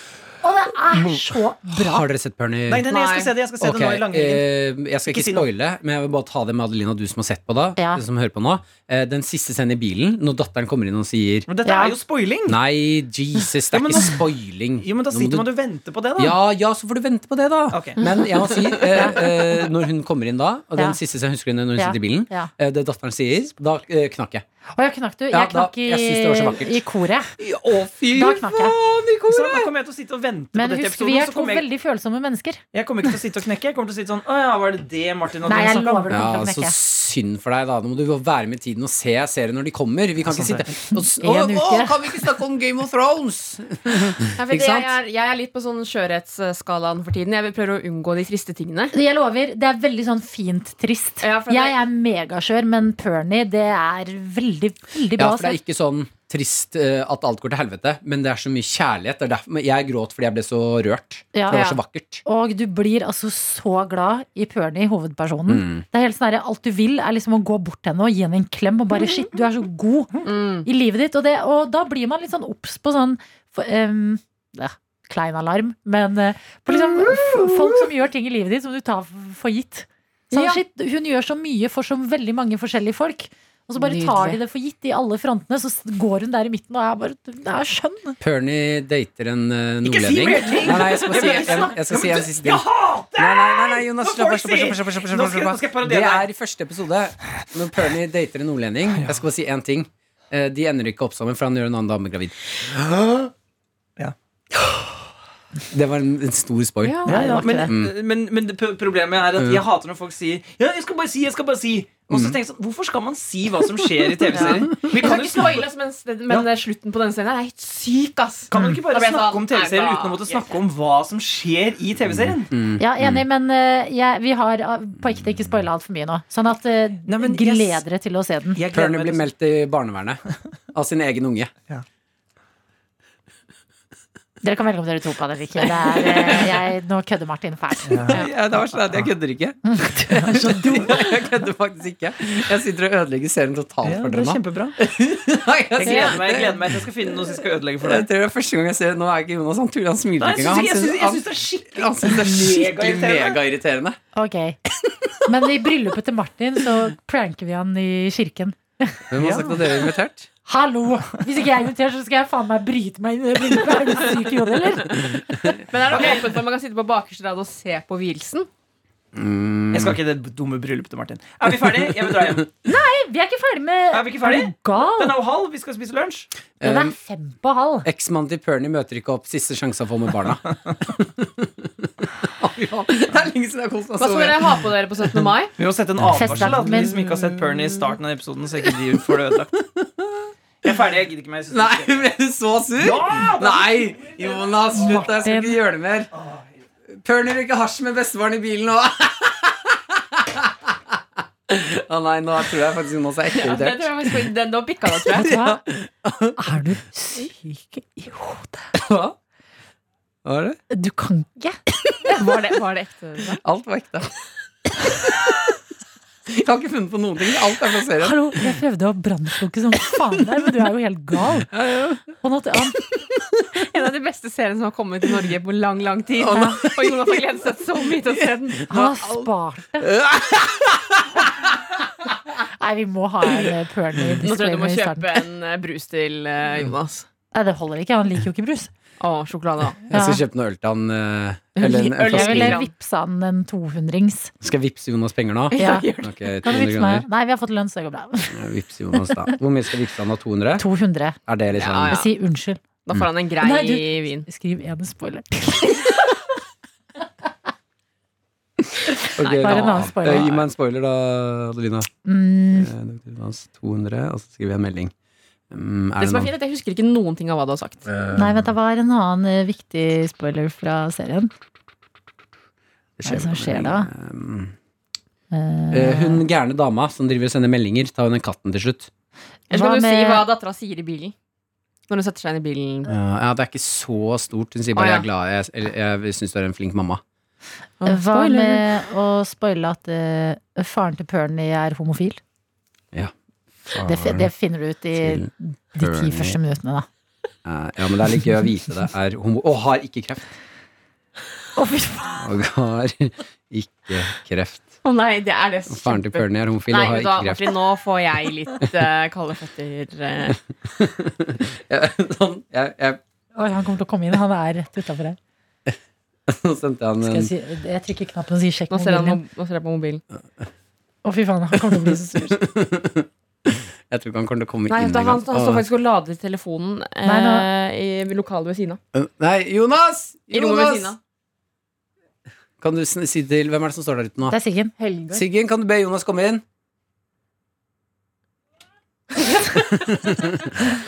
Speaker 2: Og det
Speaker 3: Mm.
Speaker 2: er så
Speaker 1: Mm.
Speaker 2: bra.
Speaker 3: Har dere sett Perny?
Speaker 5: Nei, nei, nei, jeg skal
Speaker 1: Nei.
Speaker 5: se det, jeg skal se
Speaker 3: Ok,
Speaker 5: det nå i langhelgen.
Speaker 3: eh, jeg skal
Speaker 5: Ikke
Speaker 3: ikke
Speaker 5: si noe.
Speaker 3: spoile, men jeg vil bare ta det med Adelina, du som har sett på da.
Speaker 2: Ja.
Speaker 3: du Som hører på nå. Eh, Den siste scenen i bilen, når datteren kommer inn og sier
Speaker 5: Men dette
Speaker 2: Ja.
Speaker 5: er jo spoiling!
Speaker 3: Nei, Jesus, det
Speaker 5: Ja,
Speaker 3: er
Speaker 5: men
Speaker 3: ikke
Speaker 5: da-
Speaker 3: spoiling.
Speaker 5: Jo, men da
Speaker 3: Nå må
Speaker 5: sitter
Speaker 3: du-
Speaker 5: man og venter på det, da.
Speaker 3: Ja, ja, så får du vente på det, da.
Speaker 5: Ok.
Speaker 3: Men jeg må si, eh, eh, når hun kommer inn da, og den
Speaker 2: Ja.
Speaker 3: siste scenen husker du når hun
Speaker 2: Ja.
Speaker 3: sitter i bilen,
Speaker 2: Ja.
Speaker 3: eh, det datteren sier, da eh, knakk jeg.
Speaker 2: Og jeg knakk, du. Jeg
Speaker 3: Ja, da-
Speaker 2: knakk i,
Speaker 3: jeg synes det var så vakkert.
Speaker 2: i koret.
Speaker 3: Å, fy
Speaker 2: Da knakk jeg.
Speaker 3: faen, i
Speaker 5: Så
Speaker 3: koret!
Speaker 5: da kommer jeg til å sitte og vente
Speaker 2: Men
Speaker 5: på dette
Speaker 2: husk, vi
Speaker 5: episoden.
Speaker 2: er
Speaker 5: Så
Speaker 2: to
Speaker 5: kommer jeg,
Speaker 2: veldig følsomme mennesker.
Speaker 5: jeg kommer ikke til å sitte og knekke. Jeg kommer til å sitte sånn Å ja, var det det Martin og
Speaker 2: Nei,
Speaker 5: Trine
Speaker 2: jeg
Speaker 5: snakket om?»
Speaker 2: lover du
Speaker 3: Ja,
Speaker 2: kommer til å
Speaker 3: så
Speaker 2: knekke.
Speaker 3: synd for deg, da. Nå må du jo være med i tiden og se serien når de kommer. Vi kan ikke
Speaker 5: sant
Speaker 3: sitte og s-
Speaker 2: En
Speaker 3: Å,
Speaker 2: uke.
Speaker 3: å, Kan vi ikke snakke om Game of Thrones?
Speaker 1: Ja, men
Speaker 3: Ikke sant?
Speaker 1: Jeg, er, jeg er litt på sånn skjørhetsskalaen for tiden. Jeg vil prøve å unngå de triste tingene.
Speaker 2: Jeg lover, det er veldig sånn fint trist.
Speaker 1: Ja, for det-
Speaker 2: jeg er megaskjør, men Perny, det er veldig, veldig bra
Speaker 3: Ja,
Speaker 2: å se.
Speaker 3: for det er ikke sånn trist eh, at alt går til helvete, men det er så mye kjærlighet. Det er derfor, men jeg gråt fordi jeg ble så rørt.
Speaker 2: Ja.
Speaker 3: For det var
Speaker 1: Ja.
Speaker 3: så vakkert.
Speaker 2: Og du blir altså så glad i Perny, hovedpersonen.
Speaker 3: Mm.
Speaker 2: Det er helt sånn her, Alt du vil, er liksom å gå bort til henne og gi henne en klem og
Speaker 1: Mm.
Speaker 2: bare Shit, du er så god i livet ditt. Og, det, og da blir man litt sånn obs på sånn for, em, ja, Klein alarm, men eh, på liksom, f- folk som gjør ting i livet ditt som du tar f- for gitt. Sånn,
Speaker 1: Ja.
Speaker 2: shit, hun gjør så mye for så veldig mange forskjellige folk. Og så bare tar de
Speaker 1: Nydelig.
Speaker 2: det for gitt i alle frontene, så s- går hun der i midten og er bare Det er skjønn!
Speaker 3: Perny dater en eh,
Speaker 5: Ikke si
Speaker 3: nordlending.
Speaker 5: mer ting!
Speaker 3: Nei, nei, jeg skal si
Speaker 5: Jeg vil ikke
Speaker 3: en, jeg skal si en siste ting.
Speaker 5: Jeg hater
Speaker 3: Nei, nei, nei, nei, Jonas, slapp
Speaker 5: Når
Speaker 3: av,
Speaker 5: folk
Speaker 3: slapp av, slapp
Speaker 5: sier-
Speaker 3: av, slapp av, slapp
Speaker 5: Nå
Speaker 3: av, slapp
Speaker 5: skal-
Speaker 3: av.
Speaker 5: nå skal jeg
Speaker 3: Det
Speaker 5: parodiere deg.
Speaker 3: er i første episode når Perny dater en nordlending. Jeg skal bare si én ting. Eh, De ender ikke opp sammen, for han gjør en annen dame gravid.
Speaker 5: Ja.
Speaker 3: Det var en, en stor spoil.
Speaker 5: Ja, ja, men,
Speaker 2: men,
Speaker 5: men, men det pro- problemet
Speaker 3: Mm.
Speaker 5: er at jeg hater når folk sier Ja, jeg skal bare si, jeg skal bare si. Og så tenker jeg sånn Hvorfor skal man si hva som skjer i TV-serier? Vi
Speaker 1: Jeg
Speaker 5: kan
Speaker 1: kan
Speaker 5: jo
Speaker 1: ikke
Speaker 5: snakke
Speaker 1: spoile, ass, men, men slutten på denne scenen her er helt syk, ass.
Speaker 5: kan man ikke bare
Speaker 1: Da ble jeg
Speaker 5: snakke
Speaker 1: sånn,
Speaker 5: om TV-serier
Speaker 1: nei, da-
Speaker 5: uten å måtte snakke om hva som skjer i TV-serien?
Speaker 3: Mm.
Speaker 2: ja, enig,
Speaker 5: Mm.
Speaker 2: men eh, jeg, vi har eh, på ekte ikke spoila altfor mye nå. Sånn at eh,
Speaker 5: Nei, men jeg
Speaker 2: gled
Speaker 5: s-
Speaker 2: dere til å se den.
Speaker 5: Jeg gleder
Speaker 3: Perny
Speaker 5: meg
Speaker 3: blir
Speaker 5: til-
Speaker 3: meldt til barnevernet av sin egen unge.
Speaker 2: Dere kan velge om dere tror på det eller ikke. Det er, eh, jeg, nå kødder Martin fælt.
Speaker 3: Ja, det var sånn at jeg kødder ikke. Jeg kødder faktisk ikke. Jeg sitter og ødelegger serien totalt
Speaker 5: ja,
Speaker 3: for
Speaker 5: det er
Speaker 3: dere nå.
Speaker 5: kjempebra.
Speaker 3: Nei,
Speaker 5: Jeg
Speaker 3: jeg-
Speaker 5: gleder meg, jeg gleder meg til jeg skal finne noe som jeg skal ødelegge for
Speaker 3: Jeg
Speaker 5: deg.
Speaker 3: tror det er første gang jeg ser Nå er ikke Jonas han tuller, han smiler
Speaker 5: Nei,
Speaker 3: ikke
Speaker 5: jeg
Speaker 3: engang.
Speaker 5: syns- jeg
Speaker 3: Han synes- han-
Speaker 5: syns jeg syns det er skikkelig
Speaker 3: han synes det er skikkelig
Speaker 5: Megairriterende.
Speaker 3: megairriterende.
Speaker 2: Ok. Men i bryllupet til Martin så pranker vi han i kirken.
Speaker 3: Hvem har sagt at dere er invitert?
Speaker 2: Hallo! Hvis ikke jeg er invitert, så skal jeg faen meg bryte meg inn i det bryllupet. Er du syk i hodet, eller?
Speaker 1: Men er det åpent for at man kan sitte på bakerste rad og se på vielsen?
Speaker 3: Mm.
Speaker 5: Jeg skal ikke i det dumme bryllupet til Martin. Er vi ferdige? Jeg vil dra hjem.
Speaker 2: Vi er ikke ferdig med
Speaker 5: Er vi ikke ferdig?
Speaker 2: Er du gal?
Speaker 5: Den er jo halv, vi skal spise lunsj.
Speaker 2: Den er fem på halv.
Speaker 3: Eksmannen Eh, til Perny møter ikke opp. Siste sjanse han får med barna. Fy faen, det er lenge siden jeg har kost meg
Speaker 1: Hva
Speaker 3: så
Speaker 1: skal
Speaker 3: mye.
Speaker 1: dere ha på dere på 17. mai?
Speaker 5: Vi må sette en advarsel da, til
Speaker 2: men-
Speaker 5: de som ikke har sett Perny i starten av episoden, så ikke de får det ødelagt. Jeg er ferdig, jeg gidder ikke mer. jeg synes
Speaker 3: Nei,
Speaker 5: det
Speaker 3: ble du så sur?
Speaker 5: Ja,
Speaker 3: Nei! Jonas, slutt. Jeg skal ikke gjøre det mer. Perny røyker hasj med bestefaren i bilen nå. Å nei, nå tror jeg faktisk Jonas er ekte
Speaker 1: Ja, det
Speaker 3: irritert.
Speaker 1: tror jeg faktisk- den- Nå pikka det, tror jeg.
Speaker 2: Vet du hva? Er du syk i hodet?
Speaker 3: Hva? Hva er det?
Speaker 2: Du kan ikke.
Speaker 1: Var det, var det ekte? da?
Speaker 3: Alt var ekte. Jeg har ikke funnet på noen ting. Alt er fra serien.
Speaker 2: Hallo, jeg prøvde å brannslukke som faen der, men du er jo helt gal. Og nå, han,
Speaker 1: En av de beste seriene som har kommet til Norge på lang, lang tid. Og Jonas har gledet seg så mye til å se den.
Speaker 2: han har spart det. Nei, vi må ha en eh, Perny
Speaker 1: Nå tror jeg du må
Speaker 2: disclaimer i starten.
Speaker 1: kjøpe en eh, brus til eh, Jonas.
Speaker 2: Nei, det holder ikke. Han liker jo ikke brus.
Speaker 1: Å, sjokolade, da.
Speaker 3: Jeg skal
Speaker 2: Ja.
Speaker 3: kjøpe noe øl til han. eh,
Speaker 1: Øl-
Speaker 3: Eller
Speaker 1: øl,
Speaker 3: en, en
Speaker 2: Jeg
Speaker 3: flaske
Speaker 2: ville
Speaker 3: vin.
Speaker 2: vippsa han en 200-rings.
Speaker 3: Skal jeg vippse Jonas penger nå?
Speaker 2: Ja.
Speaker 1: gjør det.
Speaker 3: Ok, 200
Speaker 2: Kan du vippse meg?
Speaker 3: kroner.
Speaker 2: Nei, vi har fått lønn, så det går bra.
Speaker 3: Ja, Vips Jonas, da. Hvor mye skal jeg vippse han av 200?
Speaker 2: 200.
Speaker 3: Er det liksom
Speaker 1: Ja, ja.
Speaker 2: Si unnskyld.
Speaker 1: Da får han en grei
Speaker 2: Nei, du-
Speaker 1: vin.
Speaker 2: Skriv en spoiler.
Speaker 3: Ok,
Speaker 2: bare en
Speaker 3: da.
Speaker 2: annen spoiler.
Speaker 3: Eh, Gi meg en spoiler, da, Adelina.
Speaker 2: Mm,
Speaker 3: Eh, Dr. Jonas, 200, og så skriver jeg en melding. Mm,
Speaker 1: Det
Speaker 3: er det
Speaker 1: som er
Speaker 3: noe-
Speaker 1: fint, er at Jeg husker ikke noen ting av hva du har sagt.
Speaker 3: Eh,
Speaker 2: nei, vent, det var en annen eh, viktig spoiler fra serien. Hva er
Speaker 3: det
Speaker 2: det
Speaker 3: skjer
Speaker 2: som skjer
Speaker 3: vel.
Speaker 2: da?
Speaker 3: Mm.
Speaker 2: Eh,
Speaker 3: Eh, hun gærne dama som driver og sender meldinger, tar hun den katten til slutt.
Speaker 1: Eller så kan
Speaker 2: Hva
Speaker 1: du si
Speaker 2: med-
Speaker 1: hva dattera sier i bilen. Når hun setter seg inn i bilen.
Speaker 3: Eh, ja, Det er ikke så stort. Hun sier
Speaker 1: Å,
Speaker 3: bare
Speaker 1: ja.
Speaker 3: 'jeg er glad', jeg, eller, 'jeg syns du er en flink mamma'.
Speaker 2: Hva
Speaker 1: Spoiler.
Speaker 2: med å spoile at eh, faren til Pernie er homofil? Det, fi- det finner du ut i
Speaker 3: til
Speaker 2: de ti
Speaker 3: Pernie.
Speaker 2: første minuttene, da.
Speaker 3: Eh, ja, men det er litt gøy å vite det er homo... Og har ikke kreft.
Speaker 2: Å, fy faen.
Speaker 3: Og har ikke kreft.
Speaker 1: Å nei, det er det
Speaker 3: Faren til Pernie er homofil
Speaker 1: Nei,
Speaker 3: og har
Speaker 1: vet du hva,
Speaker 3: ikke kreft.
Speaker 1: Martin, nå får jeg litt eh, kalde føtter. eh.
Speaker 3: Jeg, sånn, jeg, jeg,
Speaker 2: Oi, han kommer til å komme inn. Han er rett utafor her.
Speaker 3: så sendte jeg han
Speaker 2: Skal
Speaker 3: en
Speaker 2: jeg, si, jeg trykker knappen og sier 'sjekk
Speaker 1: nå, ser han,
Speaker 2: mobilen'.
Speaker 1: mo- nå ser jeg på mobilen.
Speaker 2: Å, fy faen, han kommer til å bli så sur.
Speaker 3: Jeg tror ikke han kommer til å komme
Speaker 1: Nei,
Speaker 3: inn
Speaker 1: vet du, han, han står
Speaker 3: Åh.
Speaker 1: faktisk og lader telefonen eh,
Speaker 2: Nei,
Speaker 1: i lokalet ved siden av.
Speaker 3: Eh, Nei, Jonas!
Speaker 1: I rommet ved siden
Speaker 3: Jonas!
Speaker 1: av.
Speaker 3: Kan du sn- si til Hvem er det som står der ute nå?
Speaker 2: Det er Siggen.
Speaker 3: Siggen, kan du be Jonas komme inn? Å,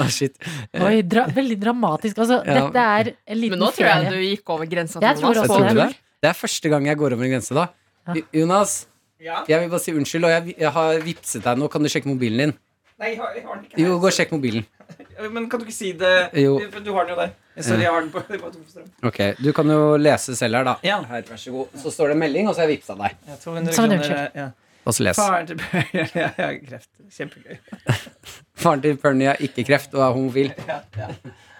Speaker 3: Ah, shit.
Speaker 2: Oi, dra, veldig dramatisk. Altså,
Speaker 3: Eh, Ja.
Speaker 2: dette er en liten
Speaker 1: Men nå tror jeg
Speaker 2: ferie.
Speaker 1: du gikk over grensa.
Speaker 2: Jeg
Speaker 1: til
Speaker 2: tror
Speaker 1: Jonas.
Speaker 2: også
Speaker 3: Jeg tror
Speaker 2: det.
Speaker 3: du det? Det er første gang jeg går over en grense, da.
Speaker 2: Ja.
Speaker 3: Jo- Jonas,
Speaker 5: Ja?
Speaker 3: jeg vil bare si unnskyld, og jeg, jeg har vippset deg nå. Kan du sjekke mobilen din?
Speaker 5: Nei, jeg har, jeg har den ikke her.
Speaker 3: Jo, gå og sjekk mobilen.
Speaker 5: Men kan du ikke si det?
Speaker 3: Jo.
Speaker 5: For Du har den jo der. Sorry, jeg har den på, på tomstrøm.
Speaker 3: Ok, Du kan jo lese selv her, da.
Speaker 5: Ja.
Speaker 3: Her, vær så god. Så står det en melding, og så har jeg vippsa deg.
Speaker 5: Ja, 200
Speaker 2: Som en
Speaker 5: kroner,
Speaker 2: unnskyld.
Speaker 5: ja.
Speaker 3: Og så les.
Speaker 5: Faren til Bjørn Jeg har kreft. Kjempegøy.
Speaker 3: Faren til Pernie har ikke kreft og er homofil.
Speaker 5: Ja, ja,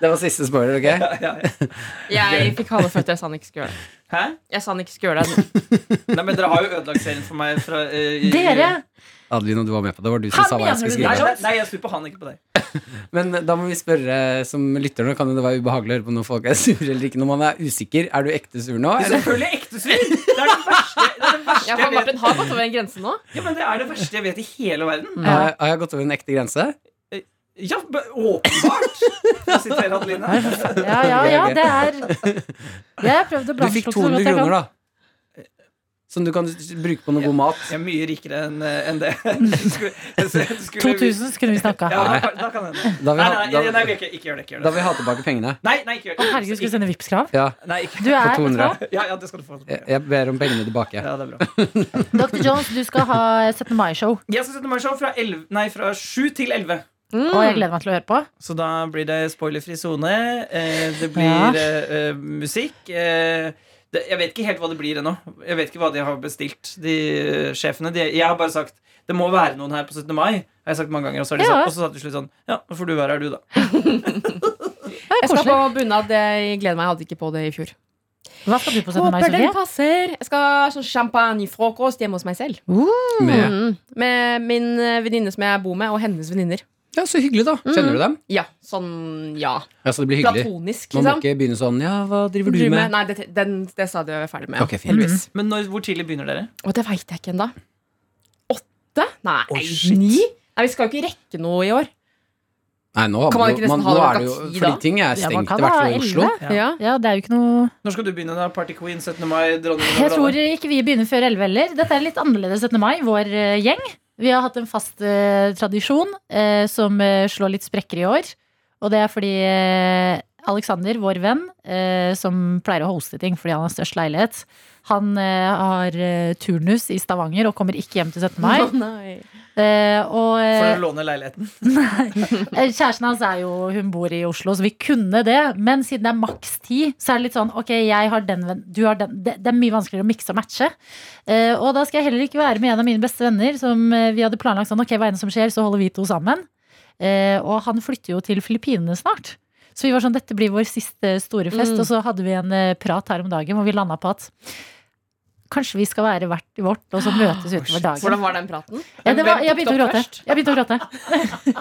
Speaker 3: Det var siste spoiler, ok?
Speaker 5: ja, ja.
Speaker 1: Jeg fikk kalde føtter. Jeg sa han ikke skulle gjøre det.
Speaker 5: Hæ?
Speaker 1: Jeg sa han ikke skulle gjøre det.
Speaker 5: Nei, men dere har jo ødelagt serien for meg fra eh, i-
Speaker 2: Dere!
Speaker 3: Adelina, du var med på det. Det var du som
Speaker 2: Han
Speaker 3: sa hva jeg skulle
Speaker 2: mener du
Speaker 5: Nei,
Speaker 3: skrive.
Speaker 2: det?
Speaker 5: nei, nei, jeg snur på han, ikke på deg.
Speaker 3: Men da må vi spørre som lytter nå, kan det være ubehagelig å høre på når folk er sure eller ikke. Når man er usikker, er du ekte sur nå? Eller?
Speaker 5: Selvfølgelig ekte sur! Det er det verste, det er det verste
Speaker 1: Ja,
Speaker 5: jeg
Speaker 1: for
Speaker 5: vet.
Speaker 1: Martin har gått over en grense nå.
Speaker 5: Ja, men det er det verste jeg vet i hele verden.
Speaker 3: Har jeg- eh, har jeg gått over en ekte grense?
Speaker 5: Ja, b- åpenbart! Jeg siterer Adeline.
Speaker 2: Ja, ja, ja, det er Jeg har prøvd å
Speaker 3: Du
Speaker 2: brannslå
Speaker 3: fikk
Speaker 2: så
Speaker 3: 200
Speaker 2: godt jeg
Speaker 3: kroner,
Speaker 2: kan.
Speaker 3: da. Som du kan bruke på noe god mat.
Speaker 5: Jeg er mye rikere enn eh, enn det. Du skulle- jeg skulle- du skulle-
Speaker 2: 2000 så kunne vi snakka.
Speaker 5: Ja, da, kan- da kan det hende.
Speaker 3: Da vil
Speaker 5: Nei,
Speaker 3: ha,
Speaker 5: nei, nei, nei,
Speaker 3: da,
Speaker 5: ikke, ikke gjør det. Ikke gjør
Speaker 3: da
Speaker 5: det.
Speaker 3: vil jeg ha tilbake pengene.
Speaker 5: Nei, nei, ikke gjør det.
Speaker 2: Herregud, skulle du sende Vipps-krav?
Speaker 3: Ja,
Speaker 5: Nei, ikke.
Speaker 2: Du er
Speaker 3: På 200.
Speaker 5: Ja, ja, det skal du få.
Speaker 3: jeg jeg ber om pengene tilbake.
Speaker 5: Ja, det er bra.
Speaker 2: Dr. Jones, du skal ha 17. mai-show,
Speaker 5: Jeg skal sette meg show fra, 11, nei, fra 7 til 11.
Speaker 1: Mm.
Speaker 2: og
Speaker 3: Mm.
Speaker 2: jeg gleder meg til å høre på.
Speaker 5: Så da blir det spoilerfri sone. Eh, det blir
Speaker 2: Ja.
Speaker 5: eh, eh, musikk. Eh, det, jeg vet ikke helt hva det blir ennå. Jeg vet ikke hva de har bestilt, de eh, sjefene. De, jeg har bare sagt det må være noen her på 17. mai. Har jeg sagt mange ganger, Og så har de
Speaker 2: Ja.
Speaker 5: sagt, og så sa de til slutt sånn Ja, nå får du være her, du, da.
Speaker 2: Det er
Speaker 1: Jeg skal
Speaker 2: koselig.
Speaker 1: på bunad. Jeg gleder meg. Jeg hadde ikke på det i fjor.
Speaker 2: Hva skal du på 17. mai,
Speaker 1: Håper den
Speaker 2: Sofie?
Speaker 1: passer. Jeg skal ha sånn champagnefrokost hjemme hos meg selv.
Speaker 3: Med.
Speaker 1: Mm. Med min eh, venninne som jeg bor med, og hennes venninner.
Speaker 3: Ja, så hyggelig, da.
Speaker 1: Mm.
Speaker 3: Kjenner du dem?
Speaker 1: Ja, sånn ja.
Speaker 3: Ja, så det blir hyggelig.
Speaker 1: Platonisk,
Speaker 3: Man må
Speaker 1: liksom.
Speaker 3: ikke begynne sånn Ja, hva driver du
Speaker 1: Driver med-
Speaker 3: med?
Speaker 1: Nei, det, den, det sa de jeg var ferdig med.
Speaker 3: Ok, fint.
Speaker 1: heldigvis.
Speaker 5: Men når, hvor tidlig begynner dere?
Speaker 1: Mm. Og det veit jeg ikke ennå. Åtte? Nei,
Speaker 5: Oi, shit.
Speaker 1: ni? Nei, vi skal jo ikke rekke noe i år.
Speaker 3: Nei, nå,
Speaker 1: Kan man ikke
Speaker 3: nå,
Speaker 1: nesten
Speaker 3: man,
Speaker 1: ha
Speaker 3: nå
Speaker 1: det
Speaker 3: er
Speaker 1: klokka
Speaker 3: det jo
Speaker 1: ti,
Speaker 3: Fordi
Speaker 1: da?
Speaker 3: ting er
Speaker 2: Ja, man
Speaker 3: stengt,
Speaker 2: kan
Speaker 3: i hvert fall
Speaker 2: ha
Speaker 3: i Oslo.
Speaker 2: 11.
Speaker 5: Ja.
Speaker 1: Ja.
Speaker 2: Ja, det er jo ikke noe
Speaker 5: Når skal du begynne, da? Party Queen 17. mai? Dronning
Speaker 2: Jeg
Speaker 5: over alle?
Speaker 2: tror ikke vi begynner før 11 heller. Dette er litt annerledes 17. mai, vår eh, gjeng. Vi har hatt en fast eh, tradisjon eh, som eh, slår litt sprekker i år. Og det er fordi eh, Alexander, vår venn, eh, som pleier å hoste ting fordi han har størst leilighet, han eh, har eh, turnus i Stavanger og kommer ikke hjem til 17. mai.
Speaker 1: Å, nei.
Speaker 2: Eh, og
Speaker 5: For
Speaker 2: eh,
Speaker 5: å låne leiligheten.
Speaker 2: Eh, Kjæresten hans er jo, hun bor i Oslo, så vi kunne det. Men siden det er maks ti, så er det litt sånn ok, jeg har den venn, du har den. Det, det er mye vanskeligere å mikse og matche. Eh, og da skal jeg heller ikke være med en av mine beste venner som eh, vi hadde planlagt sånn ok, hva enn som skjer, så holder vi to sammen. Eh, og han flytter jo til Filippinene snart. Så vi var sånn, dette blir vår siste store fest.
Speaker 1: Mm.
Speaker 2: Og så hadde vi en eh, prat her om dagen hvor vi landa på at Kanskje vi skal være hvert vårt, og så møtes utover dagen.
Speaker 1: Hvordan var den praten?
Speaker 2: Ja, det var,
Speaker 1: Hvem
Speaker 2: jeg
Speaker 1: tok
Speaker 2: begynte å
Speaker 1: det opp
Speaker 2: gråte.
Speaker 1: først?
Speaker 2: Jeg begynte å gråte.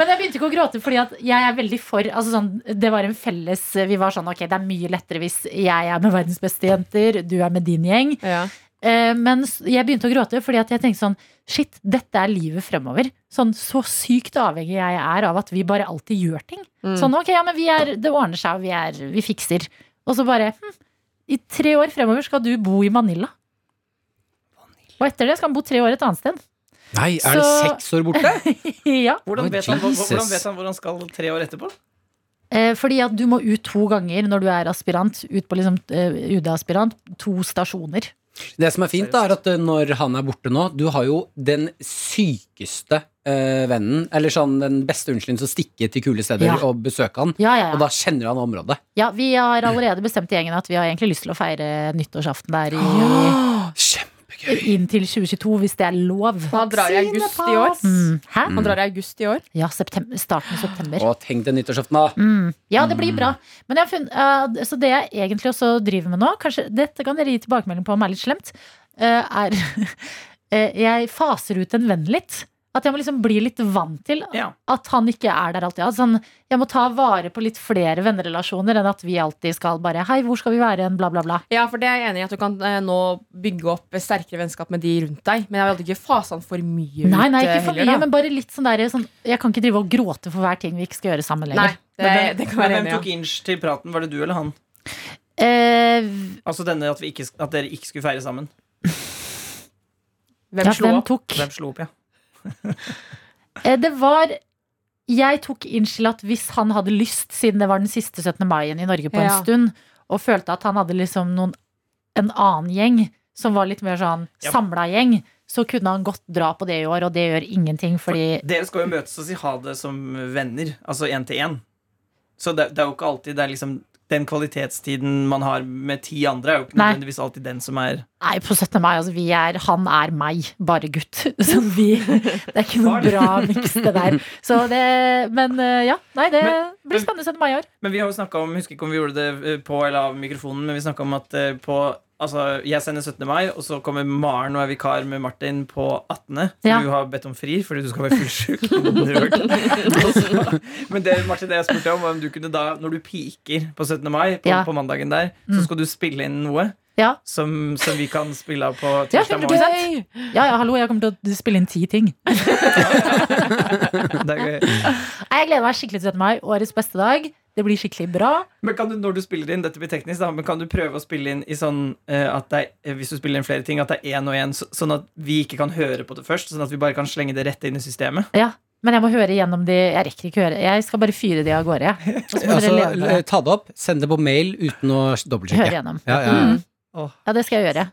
Speaker 2: Men jeg begynte ikke å gråte fordi at jeg er veldig for altså sånn, Det var en felles Vi var sånn ok, det er mye lettere hvis jeg er med verdens beste jenter, du er med din gjeng.
Speaker 1: Ja.
Speaker 2: Eh, Men s- jeg begynte å gråte fordi at jeg tenkte sånn Shit, dette er livet fremover. Sånn så sykt avhengig jeg er av at vi bare alltid gjør ting.
Speaker 1: Mm.
Speaker 2: Sånn ok, ja, men vi er, det ordner seg, og vi, er, vi fikser. Og så bare hm, I tre år fremover skal du bo i Manila. Og etter det skal han bo tre år et annet sted.
Speaker 3: Nei, er det
Speaker 2: Så-
Speaker 3: seks år borte?
Speaker 2: ja,
Speaker 5: Hvordan
Speaker 4: Å,
Speaker 5: vet, han, hvor-
Speaker 4: Jesus.
Speaker 5: hvordan vet han hvor han skal tre år etterpå?
Speaker 2: eh, Fordi at du må ut to ganger når du er aspirant. Ut på liksom eh, UD-aspirant. To stasjoner.
Speaker 3: Det som er fint, da, er at eh, når han er borte nå Du har jo den sykeste eh, vennen, eller sånn den beste unnskyldningen til å stikke til kule steder
Speaker 2: Ja.
Speaker 3: og besøke han.
Speaker 2: Ja, ja, ja.
Speaker 3: Og da kjenner han området.
Speaker 2: ja. Vi har allerede bestemt i gjengen at vi har egentlig lyst til å feire nyttårsaften der i
Speaker 3: Kjempegøy!
Speaker 2: inn til 2022, hvis det er lov.
Speaker 1: Han drar i august i år.
Speaker 2: Mm. Hæ?
Speaker 1: Han drar i august i år.
Speaker 2: Ja, septem- starten av september.
Speaker 3: Og tenk den nyttårsaften, da.
Speaker 2: Mm. Ja, det blir bra. Men jeg har funnet, eh, så det jeg egentlig også driver med nå, kanskje dette kan dere gi tilbakemelding på om er litt slemt, eh, er eh, Jeg faser ut en venn litt. At jeg må liksom bli litt vant til
Speaker 5: Ja.
Speaker 2: at han ikke er der alltid. Altså, sånn, jeg må ta vare på litt flere vennerelasjoner enn at vi alltid skal bare Hei, hvor skal vi være hen? Bla, bla, bla.
Speaker 1: Ja, for det er jeg enig i at du kan eh, nå bygge opp sterkere vennskap med de rundt deg. Men jeg hadde ikke fasa han for mye ut.
Speaker 2: Nei, nei,
Speaker 1: eh,
Speaker 2: ikke for
Speaker 1: heller, da.
Speaker 2: mye, men bare litt sånn der sånn, Jeg kan ikke drive og gråte for hver ting vi ikke skal gjøre sammen
Speaker 1: Nei,
Speaker 2: lenger.
Speaker 1: det,
Speaker 5: Men hvem,
Speaker 1: det kan være
Speaker 5: men hvem tok
Speaker 1: enig i.
Speaker 5: inch til praten? Var det du eller han?
Speaker 2: Eh,
Speaker 5: Altså denne at, vi ikke, at dere ikke skulle feire sammen.
Speaker 1: Hvem
Speaker 2: Ja,
Speaker 1: slo
Speaker 2: hvem
Speaker 1: opp?
Speaker 2: tok?
Speaker 5: Hvem slo opp, ja?
Speaker 2: Eh, Det var Jeg tok innstill at hvis han hadde lyst, siden det var den siste 17. mai-en i Norge på en
Speaker 1: Ja.
Speaker 2: stund, og følte at han hadde liksom noen, en annen gjeng som var litt mer sånn
Speaker 5: Ja.
Speaker 2: samla gjeng, så kunne han godt dra på det i år, og det gjør ingenting, fordi
Speaker 5: Dere skal jo møtes og si ha det som venner, altså én til én. Så det, det er jo ikke alltid det er liksom den kvalitetstiden man har med ti andre, er jo ikke
Speaker 2: Nei.
Speaker 5: nødvendigvis alltid den som er
Speaker 2: Nei, på 17. mai, altså, vi er Han er meg, bare gutt. Så vi Det er ikke noe bra miks, det der. Så det Men eh, ja. Nei, det
Speaker 5: Men-
Speaker 2: blir spennende 17. mai i år.
Speaker 5: Men vi har jo snakka om, husker ikke om vi gjorde det eh, på eller av mikrofonen, men vi snakka om at eh, på Altså, jeg sender 17. mai, og så kommer Maren og er vikar med Martin på 18. For
Speaker 2: Ja.
Speaker 5: du har bedt om fri fordi du skal være fullsjuk. Nerd. Og så- men det Martin, det jeg spurte om, var om du kunne da, når du piker på 17. mai, på,
Speaker 2: Ja. Mm.
Speaker 5: på mandagen der, så skal du spille inn noe
Speaker 2: Ja.
Speaker 5: som, som vi kan spille av på
Speaker 2: Ja,
Speaker 5: tirsdag morgen.
Speaker 2: 100 ja, ja, hallo, jeg kommer til å spille inn ti ting.
Speaker 5: Det er gøy.
Speaker 2: Nei, Jeg gleder meg skikkelig til 17. mai. Årets beste dag. Det blir skikkelig bra.
Speaker 5: Men kan du, når du spiller inn, dette blir teknisk da, men kan du prøve å spille inn i sånn eh, at det er, eh, hvis du spiller inn flere ting, at det er én og én, så, sånn at vi ikke kan høre på det først? Sånn at vi bare kan slenge det rett inn i systemet?
Speaker 2: Ja, Men jeg må høre gjennom de Jeg rekker ikke å høre. Jeg skal bare fyre de av gårde. jeg. Og så må
Speaker 3: Altså,
Speaker 2: dere leve med
Speaker 3: eh,
Speaker 2: det.
Speaker 3: ta det opp, send det på mail uten å
Speaker 2: Høre
Speaker 3: dobbeltsjekke.
Speaker 2: gjennom.
Speaker 3: Ja, ja.
Speaker 2: Mm.
Speaker 5: Åh.
Speaker 2: Ja, det skal jeg gjøre.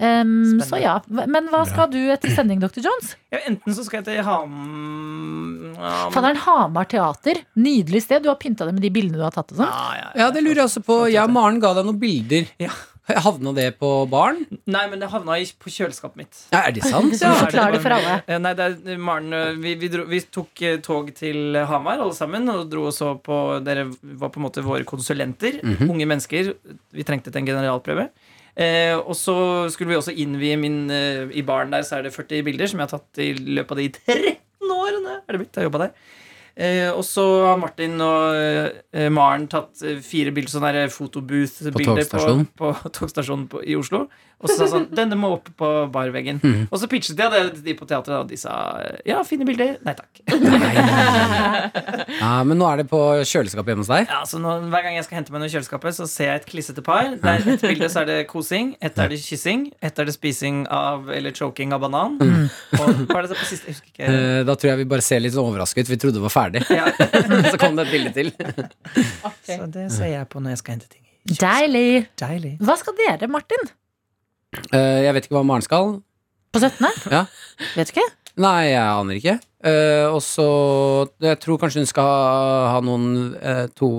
Speaker 2: Um,
Speaker 5: Spennende.
Speaker 2: så ja. Men hva skal du etter sending, Dr. Jones?
Speaker 5: Ja, enten så skal jeg til Ham... Ja, men-
Speaker 2: Fadderen Hamar teater. Nydelig sted. Du har pynta det med de bildene du har tatt. og sånn.
Speaker 5: Ja, ja, ja.
Speaker 3: ja, det lurer jeg også på. Jeg og Maren ga deg noen bilder. Havna det på baren?
Speaker 5: Nei, men det havna i, på kjøleskapet mitt.
Speaker 3: Ja, er det sant?
Speaker 2: Så forklar det for alle.
Speaker 5: Eh, Nei, det er Maren eh, vi, vi, dro, vi tok eh, tog til Hamar, alle sammen, og dro og så på Dere var på en måte våre konsulenter. Unge mennesker. Vi trengte til en generalprøve. Eh, og så skulle vi også innvie min eh, I baren der så er det 40 bilder som jeg har tatt i løpet av de 13 årene er det blitt, jeg har jobbet der. Eh, og så har Martin og eh, Maren tatt eh, fire bilder, sånne der fotobooth-bilder på,
Speaker 3: togstasjonen.
Speaker 5: på, togstasjonen på, i Oslo. Og så sa sånn Denne må opp på barveggen. Og så pitchet jeg det til de på teatret, og de sa ja, fine bilder. Nei takk.
Speaker 3: Ja, men nå er det på kjøleskapet hjemme hos deg.
Speaker 5: Ja, så nå, Hver gang jeg skal hente meg noe i kjøleskapet, så ser jeg et klissete par. Der et bilde så er det kosing, ett er det kyssing, ett er det spising av eller choking av banan. Og hva er det på siste? Jeg husker ikke.
Speaker 3: Mm. Eh, Da tror jeg vi bare ser litt sånn overrasket ut. Vi trodde det var ferdig.
Speaker 5: Ja,
Speaker 3: Så kom det et bilde til.
Speaker 5: så det ser jeg på når jeg skal hente ting.
Speaker 2: Deilig.
Speaker 5: Deilig.
Speaker 2: Hva skal dere, Martin?
Speaker 3: Eh, Jeg vet ikke hva Maren skal.
Speaker 2: På 17.?
Speaker 3: Ja.
Speaker 2: Vet du ikke?
Speaker 3: Nei, jeg aner ikke. Eh, og så Jeg tror kanskje hun skal ha, ha noen eh, to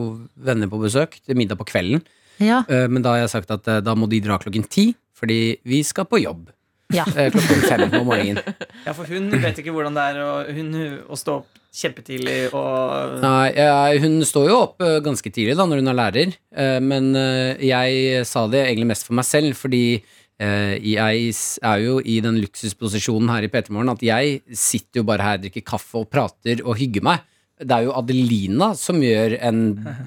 Speaker 3: venner på besøk til middag på kvelden.
Speaker 2: Ja.
Speaker 3: Eh, men da har jeg sagt at eh, da må de dra klokken ti, fordi vi skal på jobb.
Speaker 2: Ja.
Speaker 3: Eh, klokken fem om morgenen.
Speaker 5: Ja, for hun vet ikke hvordan det er å, hun, å stå opp kjempetidlig og
Speaker 3: Nei, jeg- hun står jo opp eh, ganske tidlig da når hun er lærer, eh, men eh, jeg sa det egentlig mest for meg selv, fordi eh, eh, jeg s- er jo i den luksusposisjonen her i P3 Morgen at jeg sitter jo bare her, drikker kaffe og prater og hygger meg. Det er jo Adelina som gjør en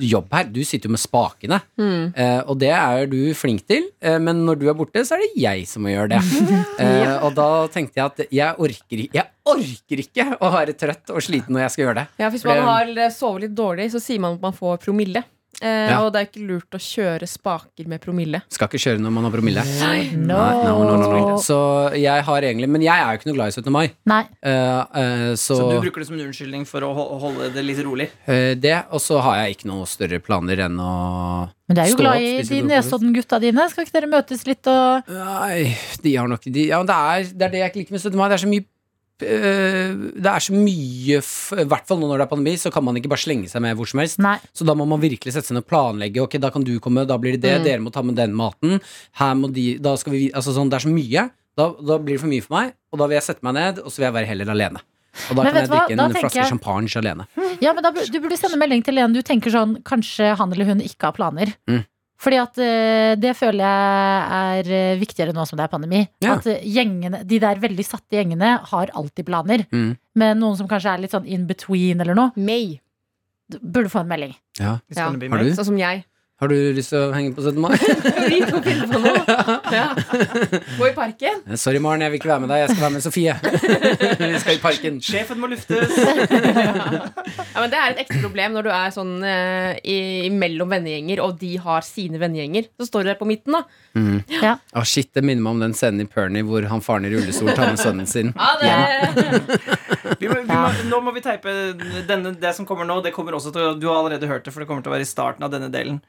Speaker 3: jobb her. Du sitter jo med spakene. Eh, og det er du flink til, eh, men når du er borte, så er det jeg som må gjøre det. Eh, og da tenkte jeg at jeg orker, i- jeg orker ikke å være trøtt og sliten når jeg skal gjøre det.
Speaker 1: Ja, Hvis
Speaker 3: For det-
Speaker 1: man har sovet litt dårlig, så sier man at man får promille. Eh,
Speaker 3: Ja.
Speaker 1: Og det er ikke lurt å kjøre spaker med promille.
Speaker 3: Skal ikke kjøre når man har promille.
Speaker 2: No.
Speaker 3: Nei, no, no, no, no. Så jeg har egentlig Men jeg er jo ikke noe glad i 17. mai.
Speaker 2: Nei.
Speaker 3: Eh, eh, så
Speaker 5: Så du bruker det som en unnskyldning for å ho- holde det litt rolig?
Speaker 3: eh, det, og så har jeg ikke noe større planer enn å
Speaker 2: Men du er jo
Speaker 3: Stå opp,
Speaker 2: glad i
Speaker 3: spise
Speaker 2: de
Speaker 3: god frokost.
Speaker 2: Nesodden-gutta dine. Skal ikke dere møtes litt og
Speaker 3: Nei, de har nok de, ja, men det, er, det er det jeg ikke liker med 17. mai. Det er så mye eh, det er så mye f- I hvert fall nå når det er pandemi, så kan man ikke bare slenge seg med hvor som helst.
Speaker 2: Nei.
Speaker 3: Så da må man virkelig sette seg ned og planlegge. Ok, da kan du komme, da blir det det.
Speaker 1: Mm.
Speaker 3: Dere må ta med den maten. Her må de Da skal vi Altså sånn, det er så mye. Da, da blir det for mye for meg, og da vil jeg sette meg ned, og så vil jeg være heller alene. Og da
Speaker 2: Men
Speaker 3: kan
Speaker 2: vet
Speaker 3: jeg
Speaker 2: du hva? Da
Speaker 3: drikke en
Speaker 2: tenker
Speaker 3: flaske
Speaker 2: jeg-
Speaker 3: champagne alene.
Speaker 2: Ja, men da, bu- du burde sende melding til en du tenker sånn Kanskje han eller hun ikke har planer.
Speaker 3: Mm.
Speaker 2: Fordi at eh, det føler jeg er eh, viktigere nå som det er pandemi.
Speaker 3: Ja.
Speaker 2: At eh, gjengene, de der veldig satte gjengene har alltid planer.
Speaker 3: Mm.
Speaker 2: Men noen som kanskje er litt sånn in between eller noe,
Speaker 1: May.
Speaker 2: d- burde få en melding.
Speaker 5: It's gonna be
Speaker 3: Har
Speaker 5: me.
Speaker 3: du?
Speaker 1: Sånn som jeg.
Speaker 3: Har du lyst til å henge på 17. mai?
Speaker 1: Vi to finner på noe. Ja. Gå i parken.
Speaker 3: Eh, Sorry, Maren, jeg vil ikke være med deg. Jeg skal være med Sofie. Vi skal i parken.
Speaker 5: Sjefen må luftes!
Speaker 1: Ja, men Det er et ekstra problem når du er sånn eh, i, mellom vennegjenger, og de har sine vennegjenger. Så står du der på midten, da.
Speaker 3: Å Ah, shit, Det minner meg om den scenen i Pernie hvor han faren i rullestol tar med sønnen sin.
Speaker 1: Ja, det,
Speaker 5: Vi må, vi må, nå må vi teipe denne, Det som kommer nå, det kommer også til å Du har allerede hørt det, for det kommer til å være i starten av denne delen.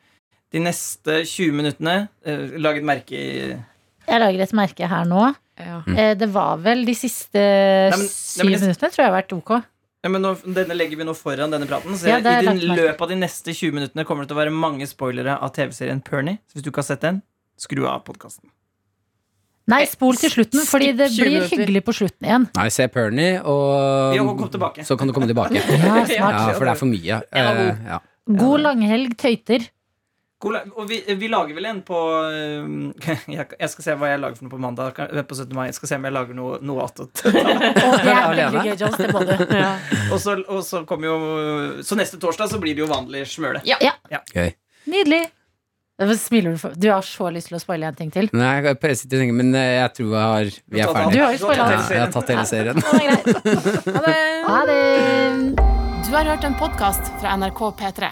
Speaker 5: De neste 20 minuttene eh, Lag et merke i Nei,
Speaker 2: Jeg lager et merke her nå.
Speaker 1: ja.
Speaker 2: Eh, det var vel de siste
Speaker 5: men- nei,
Speaker 2: syv
Speaker 5: men jeg-
Speaker 2: minuttene, tror jeg har vært ok.
Speaker 5: men nå, Denne legger vi nå foran denne praten. Så
Speaker 2: Ja, det er
Speaker 5: i
Speaker 2: lagt
Speaker 5: den,
Speaker 2: merke.
Speaker 5: løpet av de neste 20 minuttene kommer det til å være mange spoilere av TV-serien Pernie. Så hvis du ikke har sett den, skru av podkasten.
Speaker 2: Nei, spol til slutten, fordi det
Speaker 1: Skipp 20
Speaker 2: blir
Speaker 1: minutter.
Speaker 2: hyggelig på slutten igjen.
Speaker 3: Nei, se Pernie, og
Speaker 5: Ja, og kom tilbake.
Speaker 3: så kan du komme tilbake.
Speaker 2: Ja, smart.
Speaker 3: Ja, for det er for mye. Eh, ja.
Speaker 2: God langhelg, tøyter.
Speaker 5: Og vi, vi lager vel en på eh, Jeg jeg skal se hva jeg lager for noe på mandag. kan- eh, På 17. mai. Jeg skal se om jeg lager noe, noe attåt.
Speaker 2: Og det er
Speaker 3: Alene.
Speaker 2: veldig gøy, Johns. Det må du.
Speaker 5: Og så, og så kommer jo Så neste torsdag så blir det jo vanlig smøle.
Speaker 3: Gøy.
Speaker 2: Nydelig. Hvorfor Smiler du for Du har så lyst til å spoile en ting til.
Speaker 3: Nei, jeg bare sitter og tenker, men eh, jeg tror jeg har, vi er
Speaker 2: Du
Speaker 3: ferdige.
Speaker 2: har jo spoilet
Speaker 3: Ja,
Speaker 2: alt.
Speaker 3: jeg har tatt hele serien.
Speaker 2: Det var greit.
Speaker 1: Ha det.
Speaker 2: Ha det.
Speaker 6: Du har hørt en podkast fra NRK P3.